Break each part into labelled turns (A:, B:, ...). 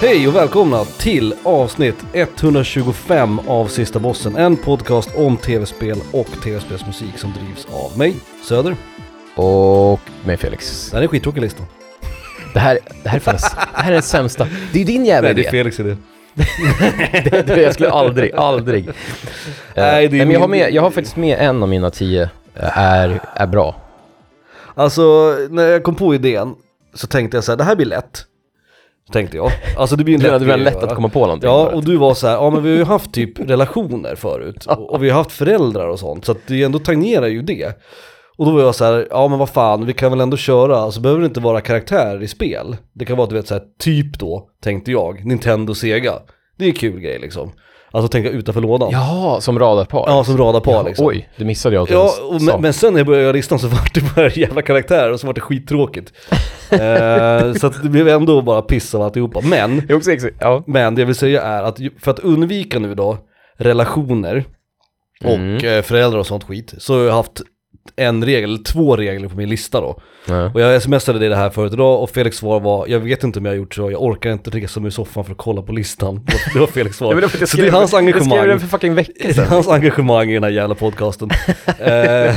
A: Hej och välkomna till avsnitt 125 av Sista Bossen. En podcast om tv-spel och tv-spelsmusik som drivs av mig, Söder.
B: Och med Felix.
A: Det här är en skittråkig lista.
B: Det här, det här, är, fan, det här är den sämsta. Det är ju din jävla
A: Nej, det är
B: idé.
A: Felix idé.
B: Det, det, jag skulle aldrig, aldrig.
A: Nej,
B: Nej,
A: det är
B: men jag, har
A: min-
B: med, jag har faktiskt med en av mina tio eh, är, är bra.
A: Alltså, när jag kom på idén så tänkte jag så här, det här blir lätt. Tänkte jag. Alltså det blir en
B: Det
A: lätt
B: hade varit
A: grej
B: lätt att
A: göra.
B: komma på någonting.
A: Ja,
B: bara.
A: och du var så här, ja men vi har ju haft typ relationer förut. Och, och vi har haft föräldrar och sånt, så att det ändå tangerar ju det. Och då var jag så här, ja men vad fan, vi kan väl ändå köra, alltså behöver det inte vara karaktär i spel. Det kan vara du vet så här, typ då, tänkte jag, Nintendo Sega. Det är en kul grej liksom. Alltså tänka utanför lådan. Ja,
B: Jaha, som radarpar.
A: som radarpar liksom.
B: Oj, det missade jag att
A: Ja,
B: jag
A: och
B: sa.
A: men, men sen när jag började göra listan så vart det bara jävla karaktärer och så vart det skittråkigt. eh, så att det blev ändå bara piss av alltihopa. Men
B: Det är också exakt. Ja.
A: men det jag vill säga är att ju- för att undvika nu då relationer och
B: Mm.
A: eh, föräldrar och sånt skit så har jag haft en regel, eller två regler på min lista då.
B: Ja.
A: Och jag smsade dig det här förut idag och Felix svar var jag vet inte om jag har gjort så, jag orkar inte resa mig ur soffan för att kolla på listan. Det var Felix svar.
B: Ja, men det var för att jag
A: så det är
B: skrev-
A: hans
B: Jag skrev
A: engagemang.
B: den för fucking vecka
A: Det är
B: sedan.
A: hans engagemang i den här jävla podcasten. eh,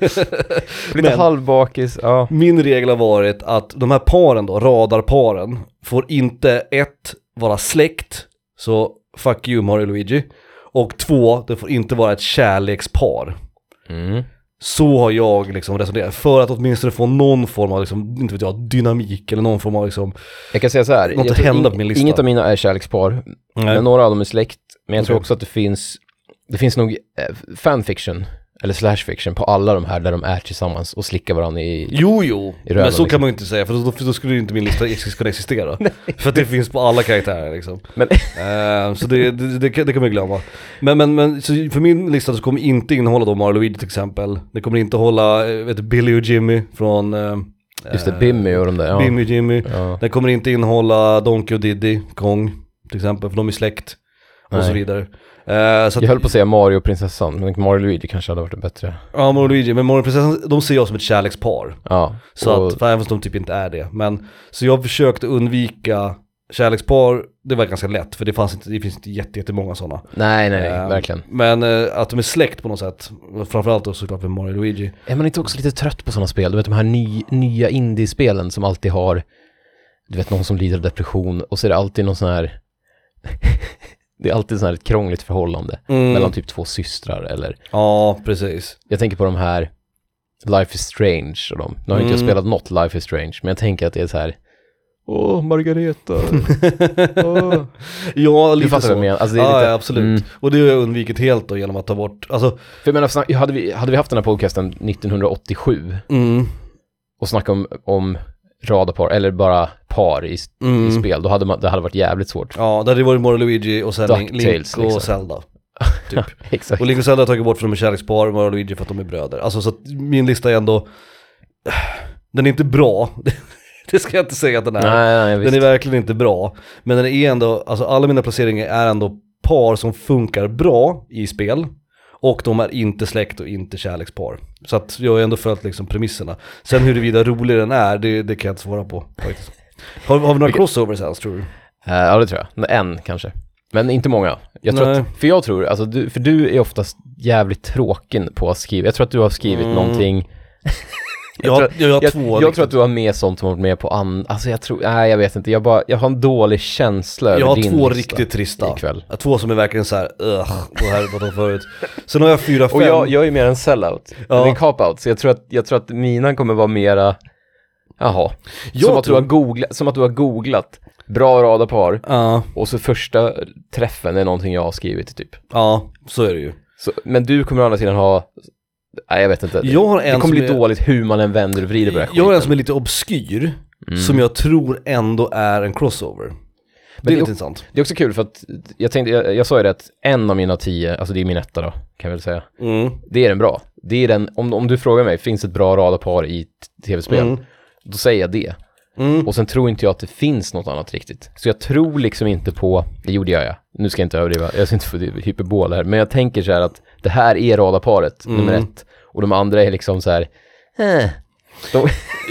B: Lite
A: Men-
B: halvbakis, ja.
A: Min regel har varit att de här paren då, radarparen, får inte ett, vara släkt, så fuck you Mario och Luigi, och två, det får inte vara ett kärlekspar.
B: Mm.
A: Så har jag liksom resonerat, för att åtminstone få någon form av, liksom, inte vet jag, dynamik eller någon form av liksom,
B: Jag kan säga så här.
A: Något
B: jag tror
A: hände
B: ing-
A: på min lista.
B: Inget av mina är kärlekspar, Men några av dem är släkt, men jag tror
A: Okej.
B: också att det finns, det finns nog eh, fanfiction, eller slashfiction, på alla de här där de är tillsammans och slickar varandra i...
A: Jo, jo,
B: röven,
A: men så kan
B: liksom.
A: man ju inte säga för då, för då skulle ju inte min lista ex- kunna existera. för att det finns på alla karaktärer liksom.
B: Men-
A: Eh, så det, det, det, kan- det kan man ju glömma. Men, men, men så för min lista så kommer inte innehålla då Mario och Luigi till exempel. Det kommer inte hålla eh, vet, du, Billy och Jimmy från... eh,
B: Just det,
A: eh,
B: Bimmy och de där, ja.
A: Bimmy och Jimmy.
B: Ja.
A: Den kommer inte innehålla Donkey och Diddy, Kong till exempel, för de är släkt. Och så
B: Nej.
A: vidare. Eh, så att,
B: Jag höll på att säga Mario och prinsessan, men Mario och Luigi kanske hade varit en bättre.
A: Ja, Mario och Luigi, men Mario och prinsessan, de ser jag som ett kärlekspar.
B: Ja.
A: Så
B: och,
A: att, för även om de typ inte är det. Men, så jag försökte undvika kärlekspar, det var ganska lätt för det, fanns inte, det finns inte jätte- jättemånga sådana.
B: Nej, nej, nej,
A: Ehm,
B: verkligen.
A: Men eh, att de är släkt på något sätt, framförallt då såklart med Mario och Luigi.
B: Är man inte också lite trött på sådana spel? Du vet de här ny, nya indiespelen som alltid har, du vet någon som lider av depression och så är det alltid någon sån här, det är alltid sån här ett krångligt förhållande mellan typ två systrar eller
A: Mm. Ja, precis.
B: Jag tänker på de här Life is Strange och de. Nu har inte jag
A: Mm.
B: spelat något Life is Strange, men jag tänker att det är så här. Åh, Margareta. Åh.
A: ja,
B: Oh. Du
A: lite
B: fattar vad jag
A: så.
B: menar. Alltså, det är
A: Ja,
B: lite,
A: ja, absolut.
B: Mm.
A: Och det har jag undvikit helt då genom att ta bort, alltså,
B: För jag menar, snack- hade vi, hade vi haft den här podcasten 1987
A: mm,
B: och snackat om, om radarpar, eller bara par i, s- i
A: mm.
B: spel, då hade man, det hade varit jävligt svårt.
A: Ja, det hade varit Mario och Luigi och sen Link Link
B: DuckTales,
A: och
B: liksom.
A: Zelda.
B: Exakt.
A: typ. Och Link och Zelda har jag tagit bort för de är kärlekspar, Mario och Luigi för att de är bröder. Alltså så att min lista är ändå, den är inte bra. Det ska jag inte säga att den är.
B: nej, nej,
A: den
B: visst.
A: är verkligen inte bra. Men den är ändå, alltså alla mina placeringar är ändå par som funkar bra i spel. Och de är inte släkt och inte kärlekspar. Så att jag har ändå följt liksom premisserna. Sen huruvida rolig den är, det, det kan jag inte svara på faktiskt. Har, har vi några crossovers ens tror du?
B: Eh, Ja, det tror jag. En kanske. Men inte många. Jag tror
A: Nej.
B: att, för jag tror, alltså du, för du är oftast jävligt tråkig på att skriva. Jag tror att du har skrivit
A: Mm.
B: någonting
A: Jag, har-
B: tror-
A: jag har
B: Jag,
A: två. liksom.
B: jag
A: riktigt.
B: tror att du har med sånt som har varit med på an... Alltså jag tror, nej jag vet inte, jag, bara, jag har en dålig känsla
A: Jag
B: över
A: har
B: din
A: två
B: lista
A: riktigt trista.
B: ikväll.
A: Två som är verkligen så här, ugh, det här har jag förut. Sen har jag fyra, fem.
B: Och jag, jag är mer en sellout,
A: Ja.
B: eller en cop-out, så jag tror, att, jag tror att mina kommer vara mera, jaha.
A: Jag
B: som, att
A: tror-
B: du har googlat, som att du har googlat bra radarpar
A: Ja,
B: och så första träffen är någonting jag har skrivit typ.
A: ja, så är det ju.
B: Så, men du kommer å andra sidan ha, nej jag vet inte.
A: Jag har en
B: det kommer
A: som
B: bli
A: är-
B: dåligt hur man än vänder och vrider på det här
A: Jag har en
B: skiten.
A: som är lite obskyr, som jag tror ändå är en crossover. det är
B: det-
A: lite intressant.
B: Det är också kul för att jag tänkte, jag, jag sa ju det att en av mina tio, alltså det är min etta då, kan jag väl säga.
A: Mm.
B: Det är den bra. Det är den, om, om du frågar mig, finns ett bra radarpar i t- tv-spel?
A: Mm.
B: Då säger jag det.
A: Mm.
B: Och sen tror inte jag att det finns något annat riktigt. Så jag tror liksom inte på, det gjorde jag ja. Nu ska jag inte överdriva, jag ska inte få hyperbol här. Men jag tänker
A: Mm.
B: så här att det här är radarparet, nummer ett. Och de andra är liksom så här, eh, De,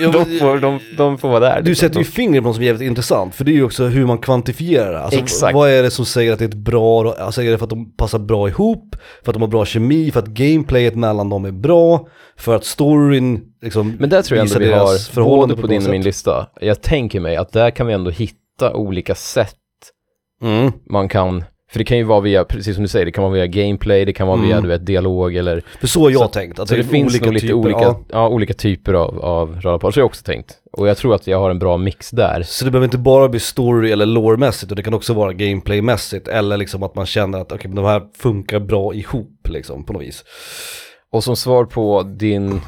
A: Ja, men-
B: de, får, de, de får vara där.
A: Du
B: liksom.
A: sätter ju fingret på något som är jävligt intressant, för det är ju också hur man kvantifierar det. Alltså,
B: Exakt.
A: Vad är det som säger att det är ett bra, alltså är det för att de passar bra ihop, för att de har bra kemi, för att gameplayet mellan dem är bra, för att storyn liksom
B: Men där tror jag
A: visar
B: ändå vi
A: deras
B: har, både
A: förhållande
B: på,
A: på ett
B: din
A: bra
B: och min
A: sätt.
B: lista, jag tänker mig att där kan vi ändå hitta olika sätt
A: Mm.
B: man kan, för det kan ju vara via, precis som du säger, det kan vara via gameplay, det kan vara via du vet, dialog eller...
A: För så har jag
B: Mm. Så-
A: tänkt. Att
B: Så det, finns nog lite
A: typer,
B: olika,
A: Ja.
B: ja. olika typer av, av radarpar, så har jag också tänkt. Och jag tror att jag har en bra mix där.
A: Så det behöver inte bara bli story eller lore-mässigt, och det kan också vara gameplaymässigt eller liksom att man känner att okej, men de här funkar bra ihop liksom på något vis.
B: Och som svar på din,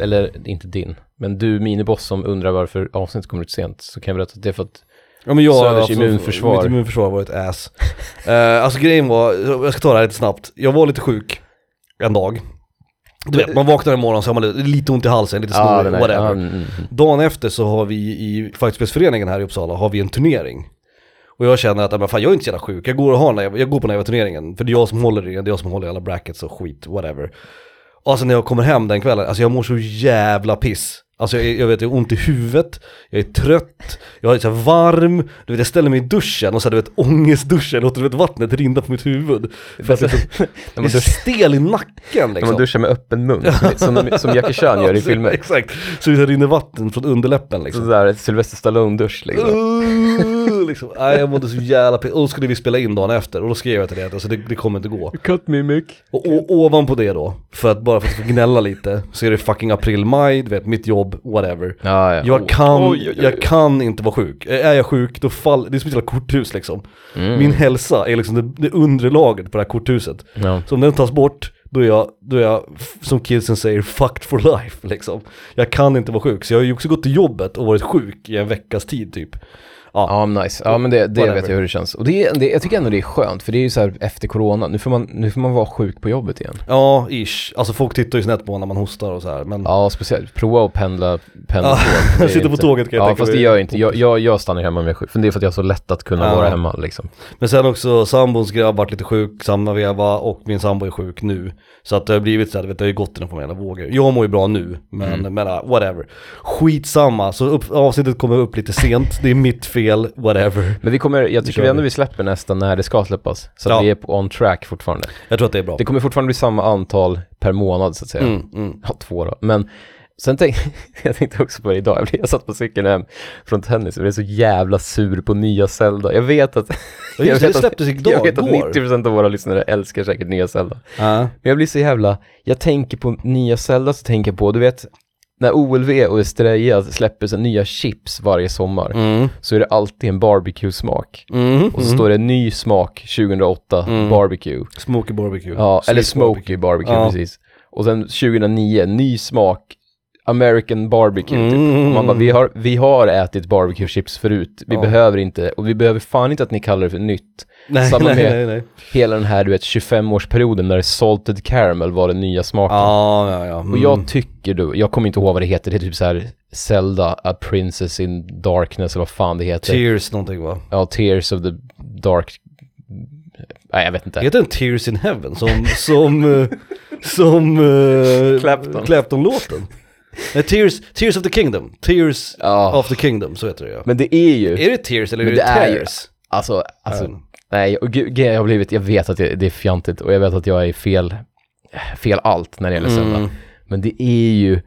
B: eller inte din, men du miniboss som undrar varför avsnittet kommer ut sent, så kan jag berätta att det är för att
A: Ja men jag
B: Sövers immunförsvar.
A: alltså, Mitt immunförsvar var ett ass. Eh, alltså grejen var, jag ska ta det här lite snabbt. Jag var lite sjuk en dag. Du vet, man vaknar en morgon så har man lite, lite ont i halsen, lite snorig,
B: den är-
A: whatever.
B: ja, mm, mm, mm.
A: Dagen efter så har vi i Fightspelsföreningen här i Uppsala, har vi en turnering. Och jag känner att, ja, men fan jag är inte så jävla sjuk, jag går, och har den här, jag går på den här turneringen. För det är jag som håller i den, det är jag som håller i alla brackets och skit, whatever. Och alltså när jag kommer hem den kvällen, alltså jag mår så jävla piss. Alltså jag, är- jag vet, jag har ont i huvudet, jag är trött, jag är så här varm, du vet jag ställer mig i duschen och så här, du vet ångestduschen, låter du vet vattnet rinna på mitt huvud. För att liksom,
B: När
A: det är
B: man
A: så
B: duschar-
A: stel i nacken
B: när man
A: liksom.
B: duschar med öppen mun, som, som Jackie Chan gör i filmer.
A: Exakt, så det rinner vatten från underläppen liksom.
B: Sådär Sylvester Stallone-dusch liksom.
A: Uh, liksom. Nej, jag mådde så jävla piss. Och då skulle vi spela in dagen efter och då skrev jag till dig att alltså, det, det kommer inte gå.
B: Cut mimic.
A: Och, och ovanpå det då, för att bara för att få gnälla lite, så är det fucking april-maj, du vet mitt jobb, whatever.
B: Ja, Oh. ja.
A: Jag
B: Åh.
A: kan,
B: Oj, oj, oj.
A: jag kan inte vara sjuk. Är jag sjuk, då faller, det är som ett jävla korthus liksom. Min hälsa är liksom det, det undre lagret på det här korthuset.
B: Ja.
A: Så om den tas bort, då är jag, då är jag f- som kidsen säger, fucked for life liksom. Jag kan inte vara sjuk, så jag har ju också gått till jobbet och varit sjuk i en veckas tid typ.
B: Ja, men nice. Ja, men det, det
A: Whatever.
B: vet jag hur det känns. Och det, är- det, jag tycker ändå det är skönt, för det är ju så här efter corona, nu får man, nu får man vara sjuk på jobbet igen.
A: Ja, ish. Alltså folk tittar ju snett på när man hostar och så här. Men
B: Ja, speciellt. Prova att pendla, pendla
A: Ja,
B: tåg. Det är
A: sitta på
B: inte-
A: tåget kan jag
B: Ja,
A: tänka
B: fast det
A: mig.
B: gör jag inte. Jag, jag, jag stannar hemma om jag är sjuk, för det är för att jag har så lätt att kunna
A: Ja.
B: vara hemma liksom.
A: Men sen också sambons grabb vart lite sjuk, samma veva och min sambo är sjuk nu. Så att det har blivit så här, du vet, det har ju gått i någon form av jävla vågor. Jag mår ju bra nu, men,
B: Mm.
A: men uh, whatever. Skitsamma, så upp, avsnittet kommer upp lite sent, det är mitt fel, whatever.
B: Men vi kommer, jag tycker
A: kör
B: vi
A: vi.
B: ändå vi släpper nästa när det ska släppas. Så
A: Ja.
B: att vi är på on track fortfarande.
A: Jag tror att det är bra.
B: Det kommer fortfarande bli samma antal per månad så att säga.
A: Mm, mm.
B: Ja, två då. Men sen tänk, jag tänkte också på det idag. Jag, blev, jag satt på cykeln hem från tennis och blev så jävla sur på nya Zelda. Jag vet att...
A: Ja, just det, det
B: vet att-
A: släpptes idag,
B: Jag vet att
A: igår.
B: 90% av våra lyssnare älskar säkert nya Zelda.
A: Ja.
B: Men jag blir så jävla... Jag tänker på nya Zelda så tänker jag på, du vet, när OLV och Estrella släpper så nya chips varje sommar
A: Mm,
B: så är det alltid en barbecue-smak.
A: mm,
B: Och så
A: mm.
B: står det ny smak 2008, barbecue.
A: Smoky barbecue.
B: Ja,
A: Sweet
B: eller smoky barbecue,
A: Ja.
B: precis. Och sen 2009, ny smak, American barbecue.
A: Mm,
B: Typ. Och Man bara,
A: mm,
B: vi har, vi har ätit barbecue chips förut, vi
A: Ja.
B: behöver inte, och vi behöver fan inte att ni kallar det för nytt.
A: Nej,
B: samma
A: nej,
B: med-
A: nej, nej.
B: Hela den här, du vet, 25-årsperioden när salted caramel var den nya smaken.
A: Ja, ja, ja. Mm.
B: Och jag tycker du, jag kommer inte ihåg vad det heter, det är typ så här Zelda, A Princess in Darkness eller vad fan det heter.
A: Tears någonting va?
B: ja, Tears of the Dark... Nej, jag vet inte.
A: Heter den Tears in Heaven som, som, eh, som eh,
B: Clapton.
A: Clapton-låten? Nej, Tears, Tears of the Kingdom, Tears
B: Ja.
A: of the Kingdom, så heter det ja.
B: Men det är ju...
A: är det Tears eller är
B: Men
A: det,
B: det är ju-
A: Tears?
B: Alltså, alltså
A: Ja.
B: nej, och gud, jag har blivit, jag vet att det, det är fjantigt och jag vet att jag är fel, fel allt när det gäller Zelda.
A: Mm.
B: Men det är ju,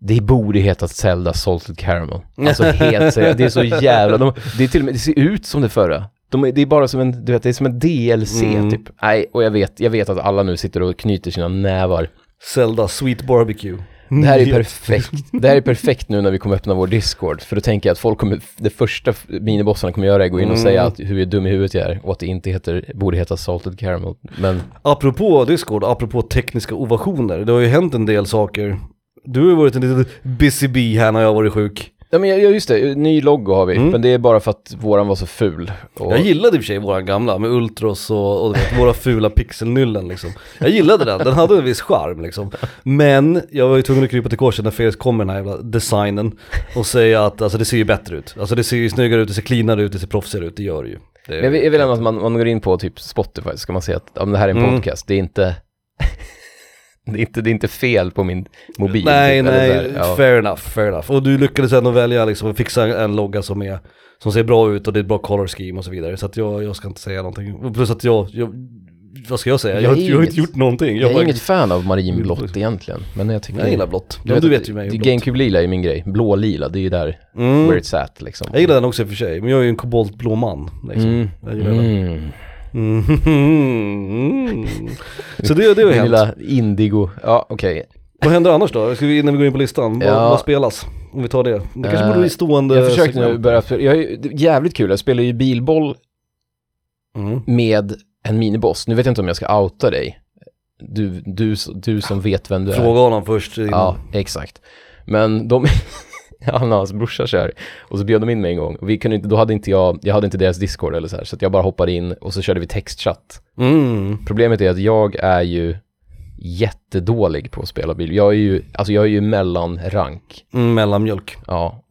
B: det borde heta Zelda Salted Caramel. Alltså helt seriöst, det är så jävla, de, det är till och med, det ser ut som det förra. De, är- det är bara som en, du vet, det är som en DLC
A: Mm.
B: typ. Nej, och jag vet, jag vet att alla nu sitter och knyter sina nävar.
A: Zelda Sweet Barbecue.
B: Det här är perfekt. Det här är perfekt nu när vi kommer öppna vår Discord, för då tänker jag att folk kommer, det första f- minibossarna kommer göra är att gå in och
A: Mm.
B: säga att hur dum i huvudet jag är och att det inte heter, borde heta Salted Caramel. Men
A: Apropå Discord, apropå tekniska ovationer, det har ju hänt en del saker. Du har ju varit en liten busy bee här när jag har varit sjuk.
B: Ja men ja, just det, ny logo har vi,
A: Mm.
B: men det är bara för att våran var så ful. Och,
A: Jag gillade i och för sig våran gamla med Ultros och, och du vet, våra fula pixelnyllen liksom. Jag gillade den, den hade en viss charm liksom. Men jag var ju tvungen att krypa till korset när Felix kom med den här jävla designen och säga att alltså, det ser ju bättre ut. Alltså det ser ju snyggare ut, det ser cleanare ut, det ser proffsigare ut, det gör det ju. Det,
B: men jag vill, jag vill ändå att man, man går in på typ Spotify så ska man se att om det här är en
A: Mm.
B: podcast, det är inte... Det är inte, det är inte fel på min mobil.
A: Nej,
B: typ, eller
A: nej,
B: så här, ja.
A: fair enough, fair enough. Och du lyckades ändå välja liksom att fixa en logga som, är, som ser bra ut och det är ett bra color scheme och så vidare. Så att jag, jag ska inte säga någonting. Och Plus att jag, jag vad ska jag säga?
B: Jag
A: Jag, har
B: är
A: inte- jag har inte
B: inget-
A: gjort någonting.
B: Jag är
A: bara-
B: inget fan av marinblått egentligen, men jag tycker...
A: Jag gillar blått.
B: Mm. Du
A: Du, du
B: att
A: vet ju mig.
B: det-
A: om blått.
B: Gamecube-lila är min grej. Blå-lila, det är ju där,
A: Mm.
B: where it's at liksom.
A: Jag gillar den också i och för sig, men jag är ju en koboltblå man. Liksom.
B: Mm.
A: Jag gillar den.
B: Mm.
A: Mm. Mm. Så det, det har
B: Min
A: hänt.
B: lilla indigo, ja okej.
A: Vad händer annars då? Ska vi, innan vi går in på listan,
B: Ja.
A: vad, vad spelas? Om vi tar det. Det kanske
B: Eh,
A: borde bli stående
B: Jag försökte nu
A: segment.
B: börja, för, jag, är ju- det är jävligt kul, jag spelar ju bilboll
A: Mm.
B: med en miniboss. Nu vet jag inte om jag ska outa dig. Du, du, du som vet vem du är.
A: Fråga honom först. innan-
B: Ja, exakt. Men de, han och hans brorsa kör. Och så bjöd de in mig en gång. Vi kunde inte, då hade inte jag, jag hade inte deras discord eller så här. Så att jag bara hoppade in och så körde vi textchatt.
A: Mm.
B: Problemet är att jag är ju jättedålig på att spela bil. Jag är ju, alltså jag är ju mellanrank.
A: Mm, mellanmjölk.
B: Ja.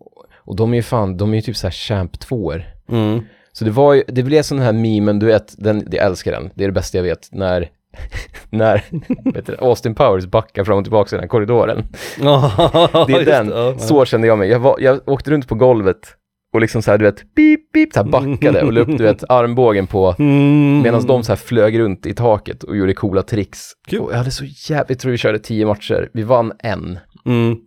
B: Och de är ju fan, de är ju typ så här champ tvåor.
A: Mm.
B: Så det var ju, det blev sån här memen, du vet, den, jag älskar den, det är det bästa jag vet, när, när vet du, Austin Powers backar fram och tillbaka i den här korridoren. Det är den, så kände jag mig. Jag, var, jag åkte runt på golvet och liksom så här, du vet, pip, pip, så här backade och la upp, du vet, armbågen på,
A: Mm.
B: medan de så här flög runt i taket och gjorde coola tricks.
A: Kul.
B: Och jag hade så jävligt, jag tror vi körde tio matcher, vi vann en.
A: Mm.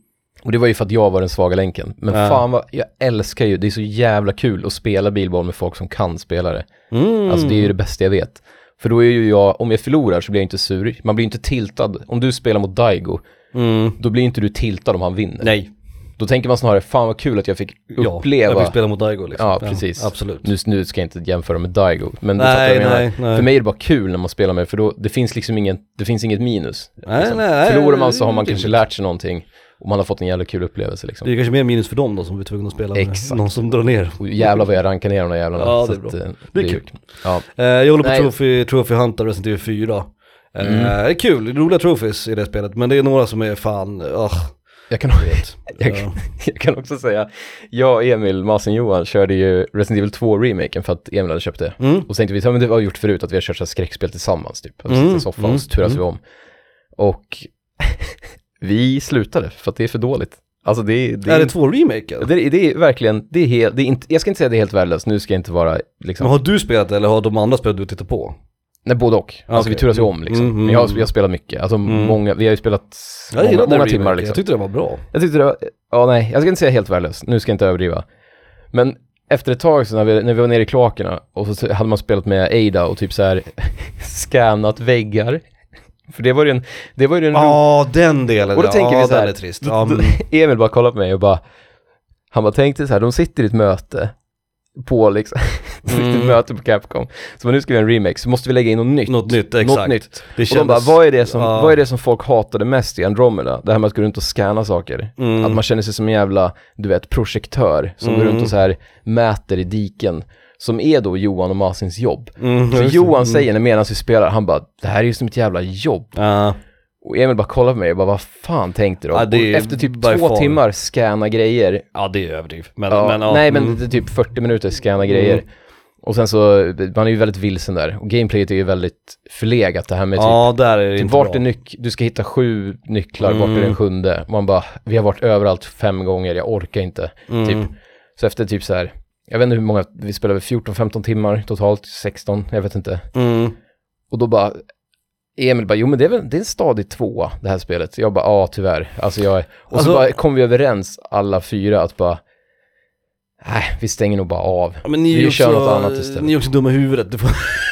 B: Och det var ju för att jag var den svaga länken. Men
A: Ja.
B: fan vad, jag älskar ju, det är så jävla kul att spela bilboll med folk som kan spela det.
A: Mm.
B: Alltså det är ju det bästa jag vet. För då är ju jag, om jag förlorar så blir jag inte sur. Man blir inte tiltad. Om du spelar mot Daigo,
A: Mm.
B: då blir inte du tiltad om han vinner.
A: Nej,
B: Då tänker man snarare, fan vad kul att jag fick
A: ja.
B: uppleva.
A: Jag fick spela mot Daigo liksom.
B: Ja, precis.
A: absolut.
B: nu, nu ska jag inte jämföra med Daigo, men du fattar vad
A: nej,
B: jag menar.
A: nej, nej.
B: För mig är det bara kul när man spelar med det, för då, det finns liksom ingen, det finns inget minus.
A: Nej,
B: liksom.
A: nej, nej,
B: Förlorar man
A: nej,
B: så har man
A: det är
B: kanske
A: rimligt.
B: lärt sig någonting och man har fått en jävla kul upplevelse liksom.
A: Det är kanske mer minus för dem då som vi är tvungna att spela
B: Exakt.
A: med. Någon som drar ner.
B: Och jävlar vad jag rankar ner de där jävlarna.
A: Ja, det är
B: Så
A: bra.
B: att, eh,
A: Det är kul.
B: Ja.
A: Eh, jag håller på
B: Nej. Mm.
A: Trophy, trophy Hunter Resident Evil 4. Eh, det är kul, det är roliga trophies i det spelet. Men det är några som är fan, ah,
B: Jag kan,
A: du vet.
B: Jag,
A: Ja.
B: jag kan också säga, jag och Emil Masen Johan körde ju Resident Evil 2-remaken för att Emil hade köpt det.
A: Mm.
B: Och så tänkte vi, ja men det har vi gjort förut, att vi har kört så här skräckspel tillsammans typ. Att vi sitter i
A: Mm,
B: soffan
A: mm,
B: och så turas
A: mm.
B: vi om. Och vi slutade för att det är för dåligt. Alltså det, är- det,
A: är
B: är-
A: det två remaker?
B: det, är- det är verkligen, det är helt, det är inte, jag ska inte säga det är helt värdelöst, nu ska jag inte vara liksom,
A: Men har du spelat det eller har de andra spelat du tittar på?
B: nej både och. Alltså
A: Okej.
B: vi turas ju om liksom.
A: Mm, mm,
B: Men jag, har-
A: mm.
B: vi har spelat mycket, alltså
A: Mm.
B: många, vi har ju spelat
A: Jag
B: många,
A: gillade
B: många
A: remaken.
B: timmar liksom.
A: jag tyckte den var bra.
B: Jag tyckte det var, ja nej, jag ska inte säga helt värdelöst, nu ska jag inte överdriva. Men efter ett tag så när vi, när vi var nere i kloakerna och så hade man spelat med Ada och typ så här scannat väggar. För det var ju en, det var ju en ro-
A: Ja, den delen.
B: Och då
A: ja,
B: tänker vi så här-
A: den är trist. Ja, mm. men-
B: Emil bara kollade på mig och bara, han bara tänkte så här, de sitter i ett möte på liksom, ett
A: Mm.
B: möte på Capcom. Så bara, nu ska vi göra en remake, så måste vi lägga in något nytt.
A: något nytt,
B: Något
A: exakt.
B: nytt.
A: Det
B: Och de bara,
A: kändes...
B: vad är, det som,
A: ja.
B: vad är det som folk hatade mest i Andromeda? Det här med att gå runt och scanna saker.
A: Mm.
B: Att man känner sig som en jävla, du vet, projektör som går
A: Mm.
B: runt och så här mäter i diken. Som är då Johan och Masins jobb.
A: Mm,
B: För
A: just det.
B: Johan säger när medan vi spelar, han bara, det här är ju som ett jävla jobb.
A: Ja.
B: Och Emil bara kollar på mig och bara, vad fan tänkte de?
A: Ja, det är
B: och efter typ
A: by
B: två
A: far.
B: timmar scanna grejer.
A: ja, det är överdrift. Men,
B: Ja,
A: men, ja.
B: nej, men
A: Mm.
B: det är typ 40 minuter scanna grejer.
A: Mm.
B: Och sen så, man är ju väldigt vilsen där. Och gameplayet är ju väldigt förlegat det här med typ,
A: Ja, där är det
B: Typ
A: inte
B: vart är
A: bra.
B: nyc- du ska hitta sju nycklar, vart är
A: Mm.
B: den sjunde? Man bara, vi har varit överallt fem gånger, jag orkar inte.
A: Mm.
B: Typ. Så efter typ så här, jag vet inte hur många, vi spelade 14-15 timmar totalt, 16, jag vet inte.
A: Mm.
B: Och då bara, Emil bara, jo men det är väl, det är en stadig tvåa det här spelet. Jag bara, ja tyvärr. Alltså jag, är- och
A: Alltså-
B: så bara kom vi överens alla fyra att bara, nej vi stänger nog bara av.
A: Ja, Men ni är
B: Vi
A: ju
B: kör
A: också-
B: något annat istället.
A: Ni är också dumma i huvudet, det får,